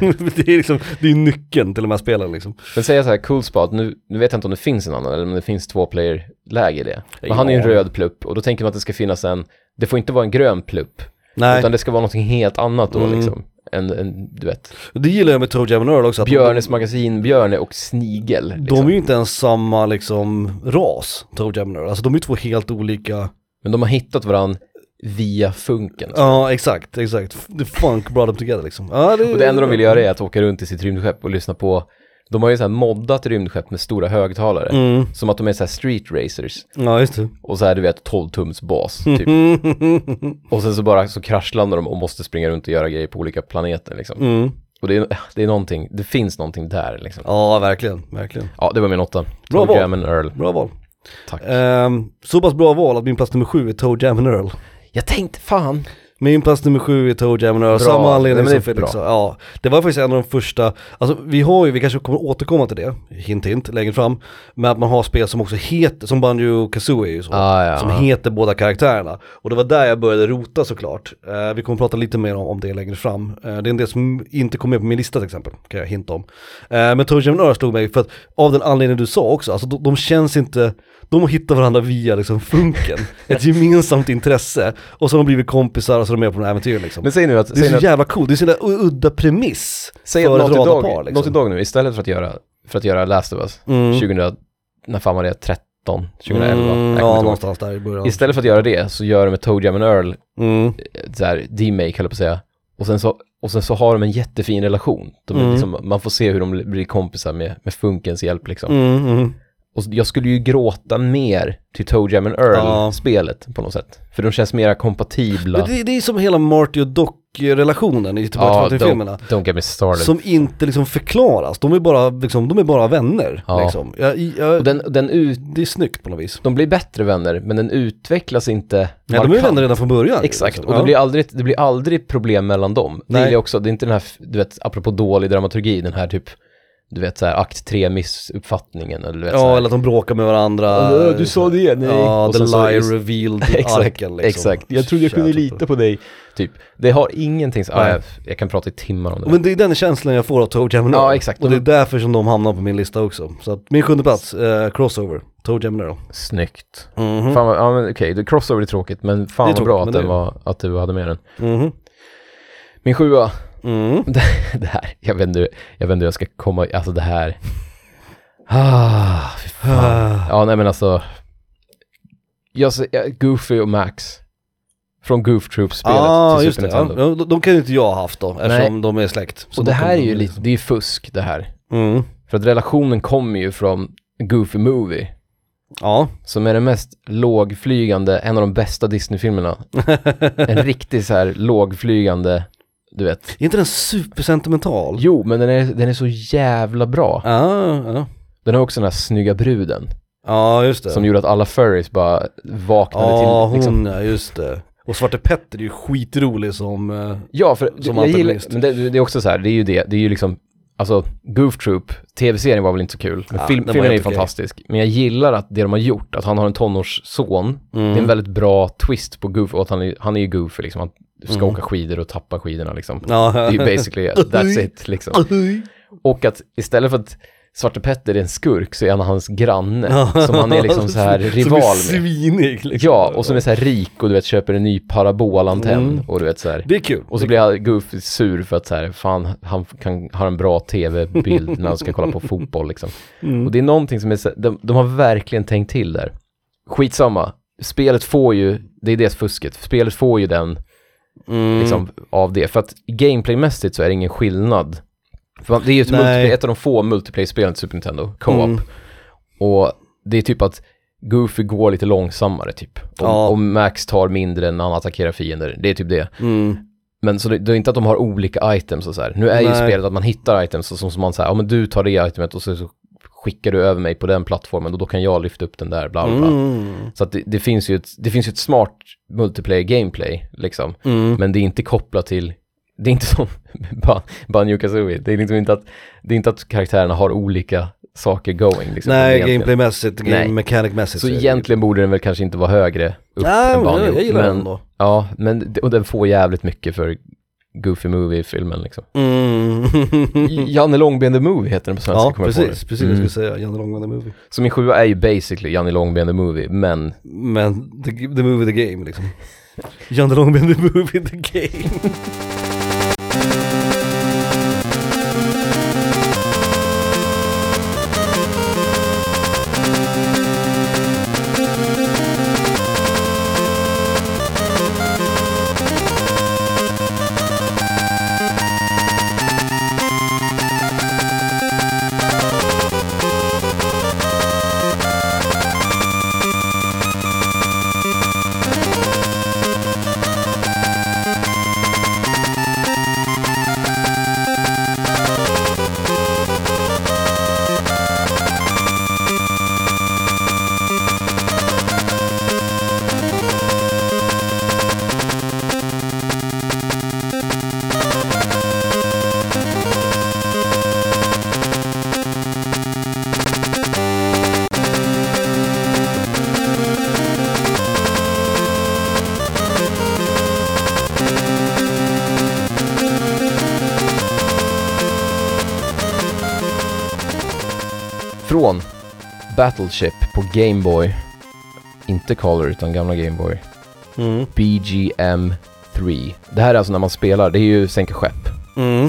A: det är liksom, det är nyckeln till de här spelen liksom.
B: Men säga så här, cool spot, nu, nu vet jag inte om det finns en annan, eller om det finns två player-läge i det. Men han är ju en
A: Ja.
B: röd plupp, och då tänker man att det ska finnas en, det får inte vara en grön plupp,
A: Nej,
B: utan det ska vara någonting helt annat då
A: Mm.
B: liksom. En, en, du vet,
A: det gillar jag med Toe Jam and Earl också. att de-
B: Björnes magasin, Björne och Snigel.
A: De
B: Liksom.
A: är ju inte ens samma liksom ras, Toe Jam and Earl. Alltså de är ju två helt olika.
B: Men de har hittat varandra via funken.
A: Ja, exakt, exakt. The funk brought them together liksom. Ja,
B: Och det enda de vill göra är att åka runt i sitt rymdskepp och lyssna på, de har ju så här moddat rymdskepp med stora högtalare.
A: Mm,
B: Som att de är så här street racers
A: ja just det.
B: och så här du vet 12-tums bas typ. Och sen så bara så kraschlandar de och måste springa runt och göra grejer på olika planeter liksom.
A: Mm.
B: Och det är, det är någonting, det finns någonting där liksom.
A: Ja, verkligen, verkligen.
B: Ja, det var min åtta.
A: Bra
B: Tom
A: val.
B: Jam and Earl.
A: Bra val.
B: Tack.
A: Ehm, så pass bra val att min plats nummer sju är Toe Jam and Earl.
B: Jag tänkte fan.
A: Min plats nummer sju är Toe Jam and Earl,
B: Bra.
A: samma
B: Nej,
A: anledning
B: men det
A: som
B: är bra.
A: Felix sa. Ja, det var faktiskt en av de första, alltså vi har ju, vi kanske kommer återkomma till det, hint hint, längre fram, men att man har spel som också heter, som Banjo Kazooie är ju så,
B: Ah, ja.
A: som heter båda karaktärerna. Och det var där jag började rota såklart. Eh, vi kommer prata lite mer om, om det längre fram. Eh, det är en del som inte kom med på min lista till exempel, kan jag hinta om. Eh, men Toe Jam and Earl slog mig för att, av den anledningen du sa också, alltså de, de känns inte, de har hittat varandra via liksom funken, ett gemensamt intresse, och så har de blivit kompisar och så är de med på den här äventyret liksom.
B: Men säg nu att,
A: Det är
B: säg nu
A: så
B: att,
A: jävla coolt, det är så jävla u- udda premiss
B: säg att
A: för ett
B: Naughty
A: radarpar
B: Dog,
A: liksom.
B: Naughty Dog nu, istället för att göra, för att göra Last of Us,
A: Mm.
B: 2000, när fan var det, 13, 2011? Jag
A: Mm,
B: kommer
A: ja,
B: inte ihåg.
A: någonstans där i början.
B: Istället för att göra det så gör de ett Toe Jam and Earl
A: Mm.
B: eh, så här, remake höll jag på att säga. Och sen, så, och sen så har de en jättefin relation. De är
A: Mm.
B: liksom, man får se hur de blir kompisar med, med funkens hjälp liksom.
A: Mm, mm.
B: Och jag skulle ju gråta mer till Toe Jam and
A: Ja.
B: Earl-spelet på något sätt. För de känns mera kompatibla.
A: Men det, det är som hela Marty och Doc-relationen i Tillbaka till
B: don't,
A: framtiden-filmerna.
B: don't get me started.
A: Som inte liksom förklaras, de är bara, liksom, de är bara vänner.
B: Ja.
A: Liksom. Jag, jag,
B: och den, den ut,
A: det är snyggt på något vis.
B: de blir bättre vänner, men den utvecklas inte
A: Nej, de är ju
B: markant.
A: vänner redan från början.
B: Exakt,
A: liksom.
B: och det,
A: Ja.
B: blir aldrig, det blir aldrig problem mellan dem. Det
A: Nej.
B: är också, det är inte den här, du vet, apropå dålig dramaturgi, den här typ, du vet så här akt 3 missuppfattningen eller du vet så
A: Ja,
B: här.
A: eller att de bråkar med varandra.
B: Ja, du sa det, nej.
A: Ja,
B: Och
A: the
B: sen så-
A: lie revealed
B: Exakt,
A: arken liksom.
B: exakt. Jag trodde jag kunde
A: Shit.
B: lita på dig. Typ, det har ingenting, så, ah,
A: Nej.
B: jag, jag kan prata i timmar om det.
A: Men det är den känslan jag får av Toe Jam and
B: Ja,
A: Earl.
B: exakt.
A: Och det är därför som de hamnar på min lista också. Så att min sjunde plats, eh, Crossover, Toe Jam and Earl.
B: Snyggt. Fan vad, ja men okej, det- crossover är tråkigt, men fan
A: Mm. Det är tråkigt,
B: vad bra att,
A: men
B: den
A: det-
B: var, att du hade med den.
A: Mhm.
B: Min sjua,
A: Mm.
B: det, det här, jag vet inte, jag vet inte hur jag ska komma, alltså det här. Ah, fy fan.
A: Ah.
B: Ja, nej men alltså. Jag, ser- jag, Goofy och Max. Från Goof Troop-spelet
A: ah,
B: till
A: just
B: Super
A: det. Ja,
B: Nintendo.
A: de, de kan ju inte jag ha haft då, eftersom de är släkt. Så
B: Och
A: då
B: det här är
A: kommer
B: ju
A: de-
B: lite, det är ju fusk det här.
A: Mm.
B: För att relationen kommer ju från Goofy Movie.
A: Ja.
B: Som är den mest lågflygande, en av de bästa Disney-filmerna. en riktig så här lågflygande, du vet.
A: Är inte den supersentimental?
B: Jo, men den är, den är så jävla bra.
A: Ja, ja.
B: Den har också den här snygga bruden.
A: Ja, just det.
B: Som gjorde att alla furries bara vaknade
A: ja,
B: till liksom,
A: hon ja, just det. Och Svarte Petter är ju skitrolig som... eh,
B: Ja, för
A: Som
B: jag gillar,
A: antagonist.
B: men det, det är också så här, det är ju det, det är ju liksom, alltså Goof Troop, tv-serien var väl inte så kul, men
A: Ja,
B: film,
A: den var
B: filmen är ju
A: helt okej.
B: fantastisk. Men jag gillar att det de har gjort, att han har en tonårsson, det är
A: Mm.
B: en väldigt bra twist på Goof, och att han är, han är ju Goof, liksom, han ska åka skidor och tappa skidorna liksom.
A: Mm. Ja.
B: Det är ju basically, that's it liksom. Och att istället för att Svarte Petter är en skurk så är han hans granne, som han är liksom så här rival
A: Som är
B: med.
A: svinig liksom.
B: Ja, och som är så här rik och du vet köper en ny parabolantenn
A: Mm.
B: och du vet så här.
A: Det är kul.
B: Och så blir jag Goofy sur för att så här, fan, han kan, har en bra tv-bild när han ska kolla på fotboll liksom.
A: Mm.
B: Och det är någonting som är, så- de, de har verkligen tänkt till där. Skitsamma, spelet får ju, det är det fusket, spelet får ju den
A: Mm.
B: liksom, av det. För att gameplaymässigt så är det ingen skillnad. För man- det är ju ett,
A: Nej. Mm.
B: multiplayer, ett av de få multiplayer-spelen till Super Nintendo, co-op. Och det är typ att Goofy går lite långsammare typ. Och,
A: Ja.
B: och Max tar mindre när han attackerar fiender. Det är typ det.
A: Mm.
B: Men så det, det är inte att de har olika items och så här. Nu är ju
A: Nej.
B: spelet att man hittar items och som, som man säger, ja men du tar det itemet och så, så skickar du över mig på den plattformen och då kan jag lyfta upp den där, bla bla. bla.
A: Mm.
B: Så att det, det,
A: Mm.
B: finns ju ett, det finns ju ett smart multiplayer gameplay liksom. Men det är inte kopplat till det är inte som Ban- Banjo Kazooie. Det är liksom inte att, det är inte att karaktärerna har olika saker going. Liksom,
A: Nej,
B: egentligen.
A: gameplaymässigt, game
B: Nej.
A: mechanic-mässigt.
B: Så
A: är det-
B: egentligen borde den väl kanske inte vara högre upp
A: Nej,
B: än Banjo.
A: jag, jag gillar
B: men,
A: den ändå.
B: Ja, men, och den får jävligt mycket för Goofy Movie-filmen liksom.
A: Mm.
B: Janne Långben the Movie heter den på svenska.
A: ja,
B: kommer jag på Mm.
A: precis. Precis vad jag skulle säga. Janne Långman the Movie.
B: nu. Så min sjua är ju basically Janne Långben the Movie, men
A: Men the, the movie, the game liksom. Janne Långben, the movie, the game.
B: från Battleship på Game Boy, inte Color utan gamla Game Boy,
A: Mm.
B: BGM 3. Det här är alltså när man spelar, det är ju sänka skepp.
A: Mm.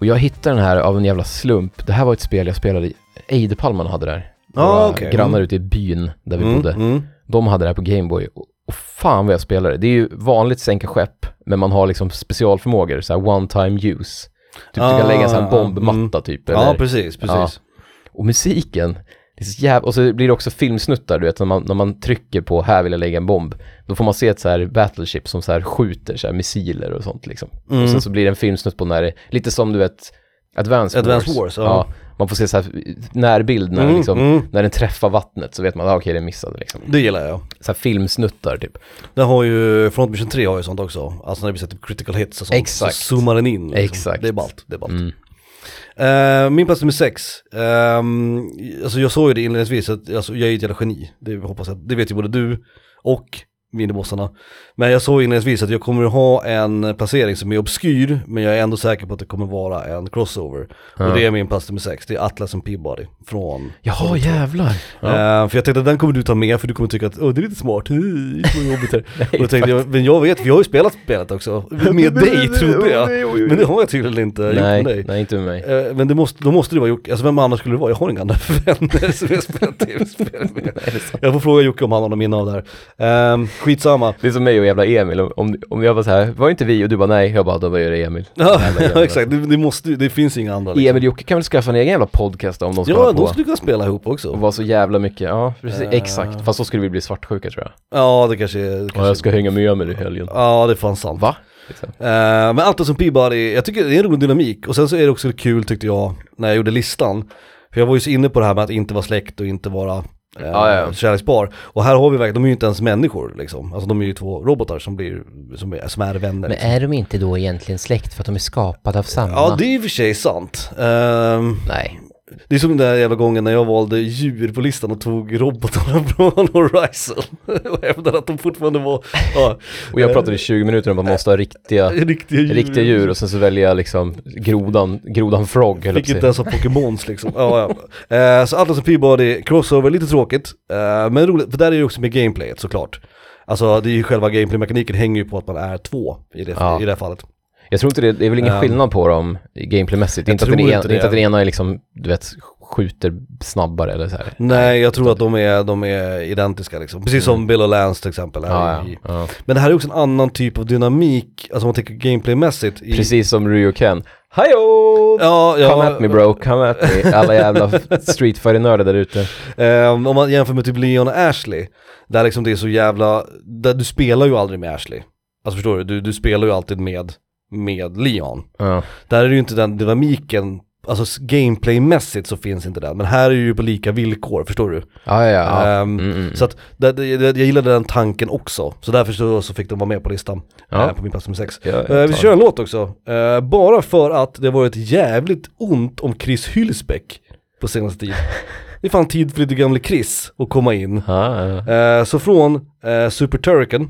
B: Och jag hittade den här av en jävla slump. Det här var ett spel jag spelade i, Eidepalmarna hade det här.
A: Ja,
B: Våra
A: okej.
B: Grannar
A: Mm.
B: ute i byn där vi
A: Mm.
B: bodde.
A: Mm.
B: De hade det här på Gameboy. Och, och fan vad jag spelade. Det är ju vanligt sänka skepp, men man har liksom specialförmågor, så här one time use. Typ du
A: Ah,
B: kan lägga en sån här bombmatta
A: mm.
B: typ. Eller,
A: Ja, precis, precis.
B: och musiken, det är så jävla, och så blir det också filmsnuttar, du vet, när man, när man trycker på här vill jag lägga en bomb, då får man se ett så här battleship som så här skjuter så här missiler och sånt liksom.
A: Mm.
B: Och sen så blir det en filmsnutt på när det, lite som du vet, Advanced,
A: Advance Wars, ja.
B: ja. Man får se så här närbild när,
A: Mm,
B: liksom,
A: mm.
B: när den träffar vattnet så vet man, ah, okej den missade liksom.
A: Det gillar jag.
B: Så här filmsnuttar typ.
A: Den har ju, Front Mission 3 har ju sånt också. Alltså när det blir typ critical hits och sånt.
B: Exakt.
A: Så zoomar den in. Liksom.
B: Exakt.
A: Det är ballt, det är ballt.
B: Mm.
A: Eh, min plats nummer sex. Ehm, alltså jag såg ju det inledningsvis, att, alltså, jag är ju ett jävla geni. Det, hoppas jag, det vet ju både du och minibossarna. Men jag såg inledningsvis att jag kommer ha en placering som är obskyr, men jag är ändå säker på att det kommer vara en crossover. Och det är min plats nummer sex, det är Atlas and Peabody från
B: Jaha, jävlar. Ja.
A: Eh, för jag tänkte att den kommer du ta med för du kommer tycka att Åh, det är lite smart, Hej, vad jobbigt här.
B: Nej,
A: Och då tänkte jag, men jag vet, vi har ju spelat spelet också. Med dig trodde jag. Men det har jag tydligen inte gjort med dig.
B: nej, nej, inte med mig.
A: Eh, Men det måste, då måste det vara Jocke, alltså vem annars skulle det vara? Jag har inga andra vänner som jag spelar tv-spel med.
B: Är det sant?
A: Jag får fråga Jocke om han har någon minne av det här. Um, skitsamma.
B: Det är som mig och jävla Emil, om- om, om jag var så här, var inte vi? Och du bara nej, jag bara, då var ju det Emil.
A: Ja,
B: Jävla
A: ja
B: jävla.
A: exakt, det, det, måste, det finns inga andra. Liksom.
B: Emil och Jocke kan väl skaffa en egen jävla podcast om de ska
A: Ja,
B: hålla
A: de
B: på
A: skulle kunna spela ihop
B: och
A: också.
B: vara så jävla mycket. Ja, precis,
A: Eh.
B: exakt. Fast då skulle vi bli svartsjuka tror jag.
A: Ja, det kanske är...
B: Ja, jag
A: Kanske,
B: ska hänga med Emil i helgen.
A: ja, det är fan sant.
B: Va? Liksom.
A: Eh, men allt som Peabody, jag tycker det är en rolig dynamik och sen så är det också kul tyckte jag när jag gjorde listan. För jag var ju så inne på det här med att inte vara släkt och inte vara eh,
B: Ja, ja.
A: kärlekspar. Och här har vi verkligen, de är ju inte ens människor liksom. Alltså de är ju två robotar som, blir, som, är, som är vänner. liksom.
D: Men är de inte då egentligen släkt för att de är skapade av samma?
A: ja det är i och för sig sant. Ehm,
D: Nej.
A: det är som den där jävla gången när jag valde djur på listan och tog robotarna från Horizon. och hävdade att de fortfarande var ja, eh,
B: Och jag pratade i 20 minuter om att man måste ha riktiga,
A: riktiga djur.
B: riktiga djur och sen så välja liksom grodan, grodan Frog, höll jag
A: Fick
B: på att
A: inte
B: säga.
A: ens ha Pokémons liksom. Ja, ja. Eh, så Atlas och Peabody, Crossover, lite tråkigt. Eh, men roligt, för där är det också med gameplayet såklart. Alltså det är ju själva gameplaymekaniken hänger ju på att man är två i det,
B: Ja.
A: i det här fallet.
B: Jag tror inte det, det är väl ingen
A: Ehm.
B: skillnad på dem gameplaymässigt. Det
A: Jag
B: är inte att den
A: tror
B: ena-
A: inte
B: det är inte
A: det.
B: att den ena är liksom, du vet, skjuter snabbare eller så här.
A: Nej, jag tror att de är, de är identiska liksom. Precis som Bill och Lance till exempel. är
B: Mm. Ja,
A: i-
B: ja, ja.
A: Men det här är också en annan typ av dynamik, alltså om man tänker gameplaymässigt. I...
B: Precis som Ryu Ken. Hallå!
A: Ja, ja,
B: Come at me bro, come at me. Alla jävla Street Fighter-nördar där ute.
A: Eh, om man jämför med typ Leon och Ashley, där liksom det är så jävla, där du spelar ju aldrig med Ashley. Alltså förstår du, du, du spelar ju alltid med, med Leon.
B: Ja.
A: Där är det ju inte den dynamiken alltså s- gameplaymässigt så finns inte den. Men här är ju på lika villkor, förstår du?
B: Ja, ja, ja.
A: Ehm,
B: Mm, mm.
A: Så att, det, det, det, jag gillade den tanken också. Så därför så, så fick den vara med på listan.
B: Ja.
A: eh, på min plats nummer sex.
B: Ja, jag
A: Eh, vi
B: tar
A: kör en låt också. Eh, bara för att det har varit jävligt ont om Chris Hylsbäck på senaste tid. Det är fan tid för lite gamle Chris att komma in.
B: Ja, ja.
A: Eh, så från eh, Super Turrican,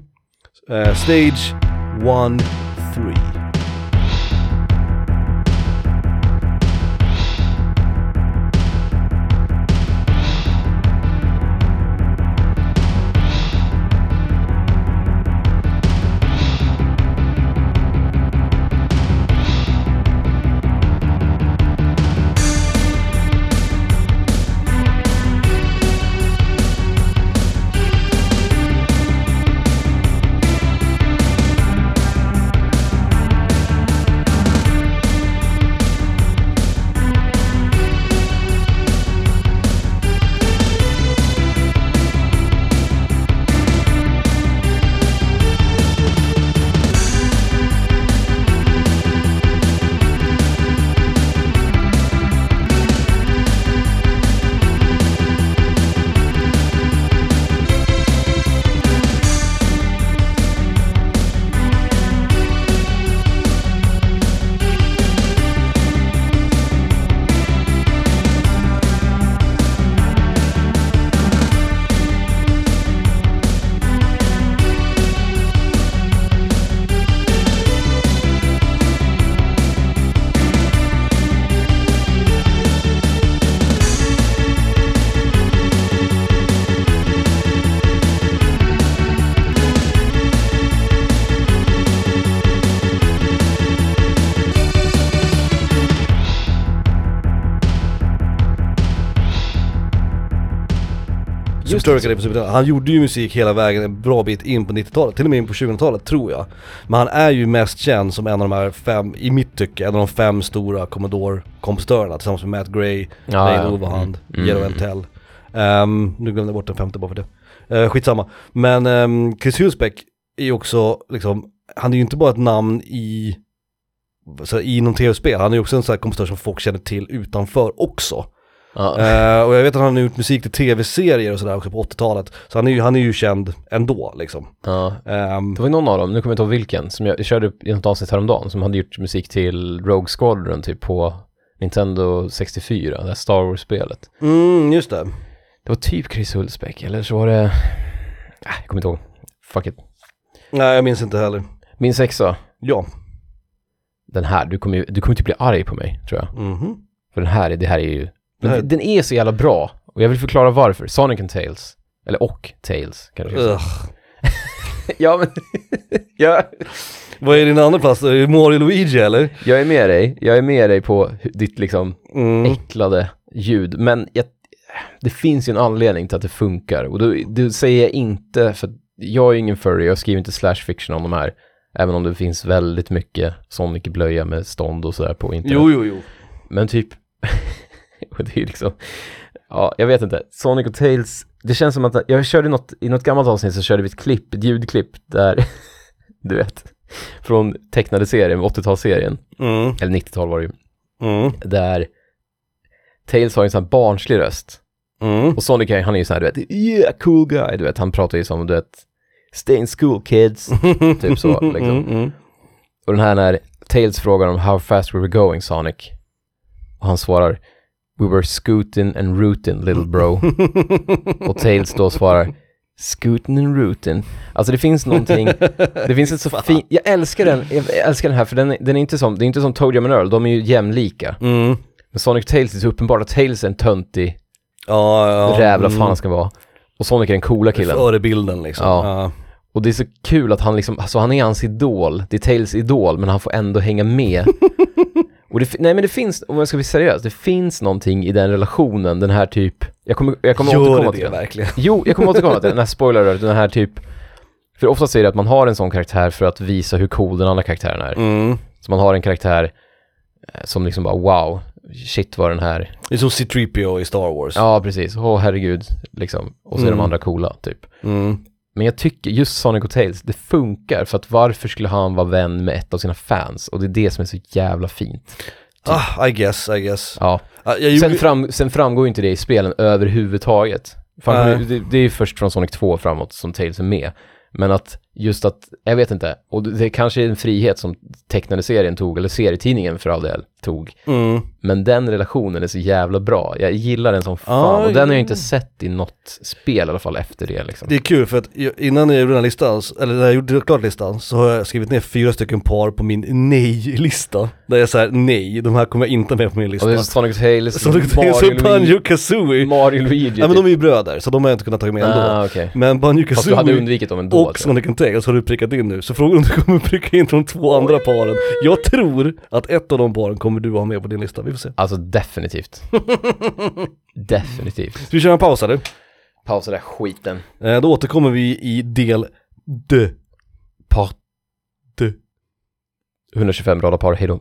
A: eh, Stage 1-3. Subturrican är på Super Han gjorde ju musik hela vägen en bra bit in på 90-talet, till och med in på 2000-talet tror jag. Men han är ju mest känd som en av de här fem, i mitt tycke, en av de fem stora Commodore-kompositörerna tillsammans med Matt Gray,
B: Ja,
A: Dane
B: ja.
A: Overhand,
B: Mm.
A: Jero Entell. Ehm, nu glömde jag bort den femte bara för det. Eh, skitsamma. Men ehm, Chris Hülsbeck är ju också liksom, han är ju inte bara ett namn i, så här, i någon tv-spel, han är ju också en sån här kompositör som folk känner till utanför också.
B: Ja.
A: Eh, och jag vet att han har gjort musik till tv-serier och sådär också på 80-talet. Så han är ju, han är ju känd ändå liksom.
B: Ja.
A: Ehm,
B: Det var ju någon av dem, nu kommer jag inte ihåg vilken, som jag körde upp i något avsnitt häromdagen, som hade gjort musik till Rogue Squadron typ på Nintendo 64, det här Star Wars-spelet.
A: mm, just det.
B: Det var typ Chris Hulsbeck, eller så var det... Äh, jag kommer inte ihåg. Fuck it.
A: Nej, jag minns inte heller.
B: Min sexa,
A: Ja.
B: den här, du kommer ju du kommer typ bli arg på mig, tror jag.
A: Mhm.
B: För den här, är- det här är ju... Den,
A: här-
B: den är så jävla bra, och jag vill förklara varför. Sonic and Tails, eller och Tails, kanske. jag ska
A: Ugh.
B: säga. ja, men... jag,
A: Vad är din andra plats? Är det Mario Luigi eller?
B: jag är med dig, jag är med dig på hu- ditt liksom...
A: Mm.
B: äcklade ljud. Men jag, det finns ju en anledning till att det funkar. Och då, det säger jag inte, för att jag är ingen furry, jag skriver inte slash fiction om de här. Även om det finns väldigt mycket Sonic-blöja med stånd och sådär på internet.
A: Jo, jo, jo.
B: Men typ, och det är ju liksom, ja, jag vet inte. Sonic och Tails, det känns som att, jag körde något, i något gammalt avsnitt så körde vi ett klipp, ett ljudklipp där, du vet, från tecknade serien, 80-talsserien,
A: Mm.
B: eller 90-tal var det ju
A: Mm.
B: där Tails har ju en sån här barnslig röst.
A: Mm.
B: Och Sonic, han är ju sån här, du vet, yeah cool guy, du vet, han pratar ju som, du vet, stay in school kids, typ så liksom.
A: Mm, mm.
B: Och den här när Tails frågar om how fast we were going Sonic, och han svarar we were scootin' and rootin' little bro.
A: mm.
B: och Tails då svarar scootin' and rootin'. Alltså det finns någonting, det finns ett så fint, jag älskar den, jag älskar den här för den, är- den är inte som, det är inte som Toad Jam and Earl, de är ju jämlika.
A: Mm.
B: Men Sonic Tails är så uppenbart att Tails är en töntig
A: Ja, ja. mm.
B: räv, vad fan han ska vara. Och Sonic är den coola killen.
A: Förebilden liksom.
B: Ja.
A: Ja.
B: Och det är så kul att han liksom, alltså han är hans idol, det är Tails idol, men han får ändå hänga med. och det, fi- nej men det finns, om jag ska bli seriös, det finns någonting i den relationen, den här typ, jag kommer, jag kommer
A: Gör
B: återkomma
A: det
B: till
A: det
B: den.
A: verkligen?
B: Jo, jag kommer återkomma till den här spoiler den här typ, för oftast är det att man har en sån karaktär för att visa hur cool den andra karaktären är.
A: Mm.
B: Så man har en karaktär eh, som liksom bara wow, shit vad den här
A: Det är som C-3PO i Star Wars.
B: Ja, precis. Åh, herregud, liksom. Och så är de
A: Mm.
B: andra coola, typ.
A: Mm.
B: Men jag tycker just Sonic och Tails, det funkar. För att varför skulle han vara vän med ett av sina fans? Och det är det som är så jävla fint.
A: Ah, I guess, I guess.
B: Typ. Ja.
A: Ah, jag gjorde...
B: Sen, fram, sen framgår ju inte det i spelen överhuvudtaget.
A: Nej.
B: Fan, det, det är ju först från Sonic 2 framåt som Tails är med. Men att just att, jag vet inte, och det det kanske är en frihet som tecknade serien tog, eller serietidningen för all del tog.
A: mm.
B: Men den relationen är så jävla bra. Jag gillar den som fan.
A: Ja,
B: och den har
A: ja.
B: jag inte sett i något spel i alla fall efter det liksom.
A: Ah. Det är kul för att jag- innan jag gjorde den här listan, eller när jag gjorde klart listan, så har jag skrivit ner fyra stycken par på min nej-lista. Där jag säger nej, de här kommer jag inte med på min
B: och det är
A: lista.
B: Sonic Tails,
A: Så det är
B: Mario,
A: så
B: Luigi,
A: Banjo Kazooie.
B: Mario Luigi. typ.
A: Nej men de är ju bröder, så de har jag inte kunnat ta med ändå.
B: ah, okej.
A: Men Banjo
B: Fast du hade
A: Kazooie
B: undvikit dem ändå.
A: och
B: alltså.
A: Sonic and Tails har du prickat in nu, så frågan är om du kommer pricka in de två andra paren. Jag tror att ett av de paren kommer du ha med på din lista, vi får se.
B: Alltså definitivt. definitivt.
A: Ska vi köra en paus eller?
B: Pausa där skiten.
A: Eh, Då återkommer vi i del D. Part D.
B: 125 radarpar, hejdå.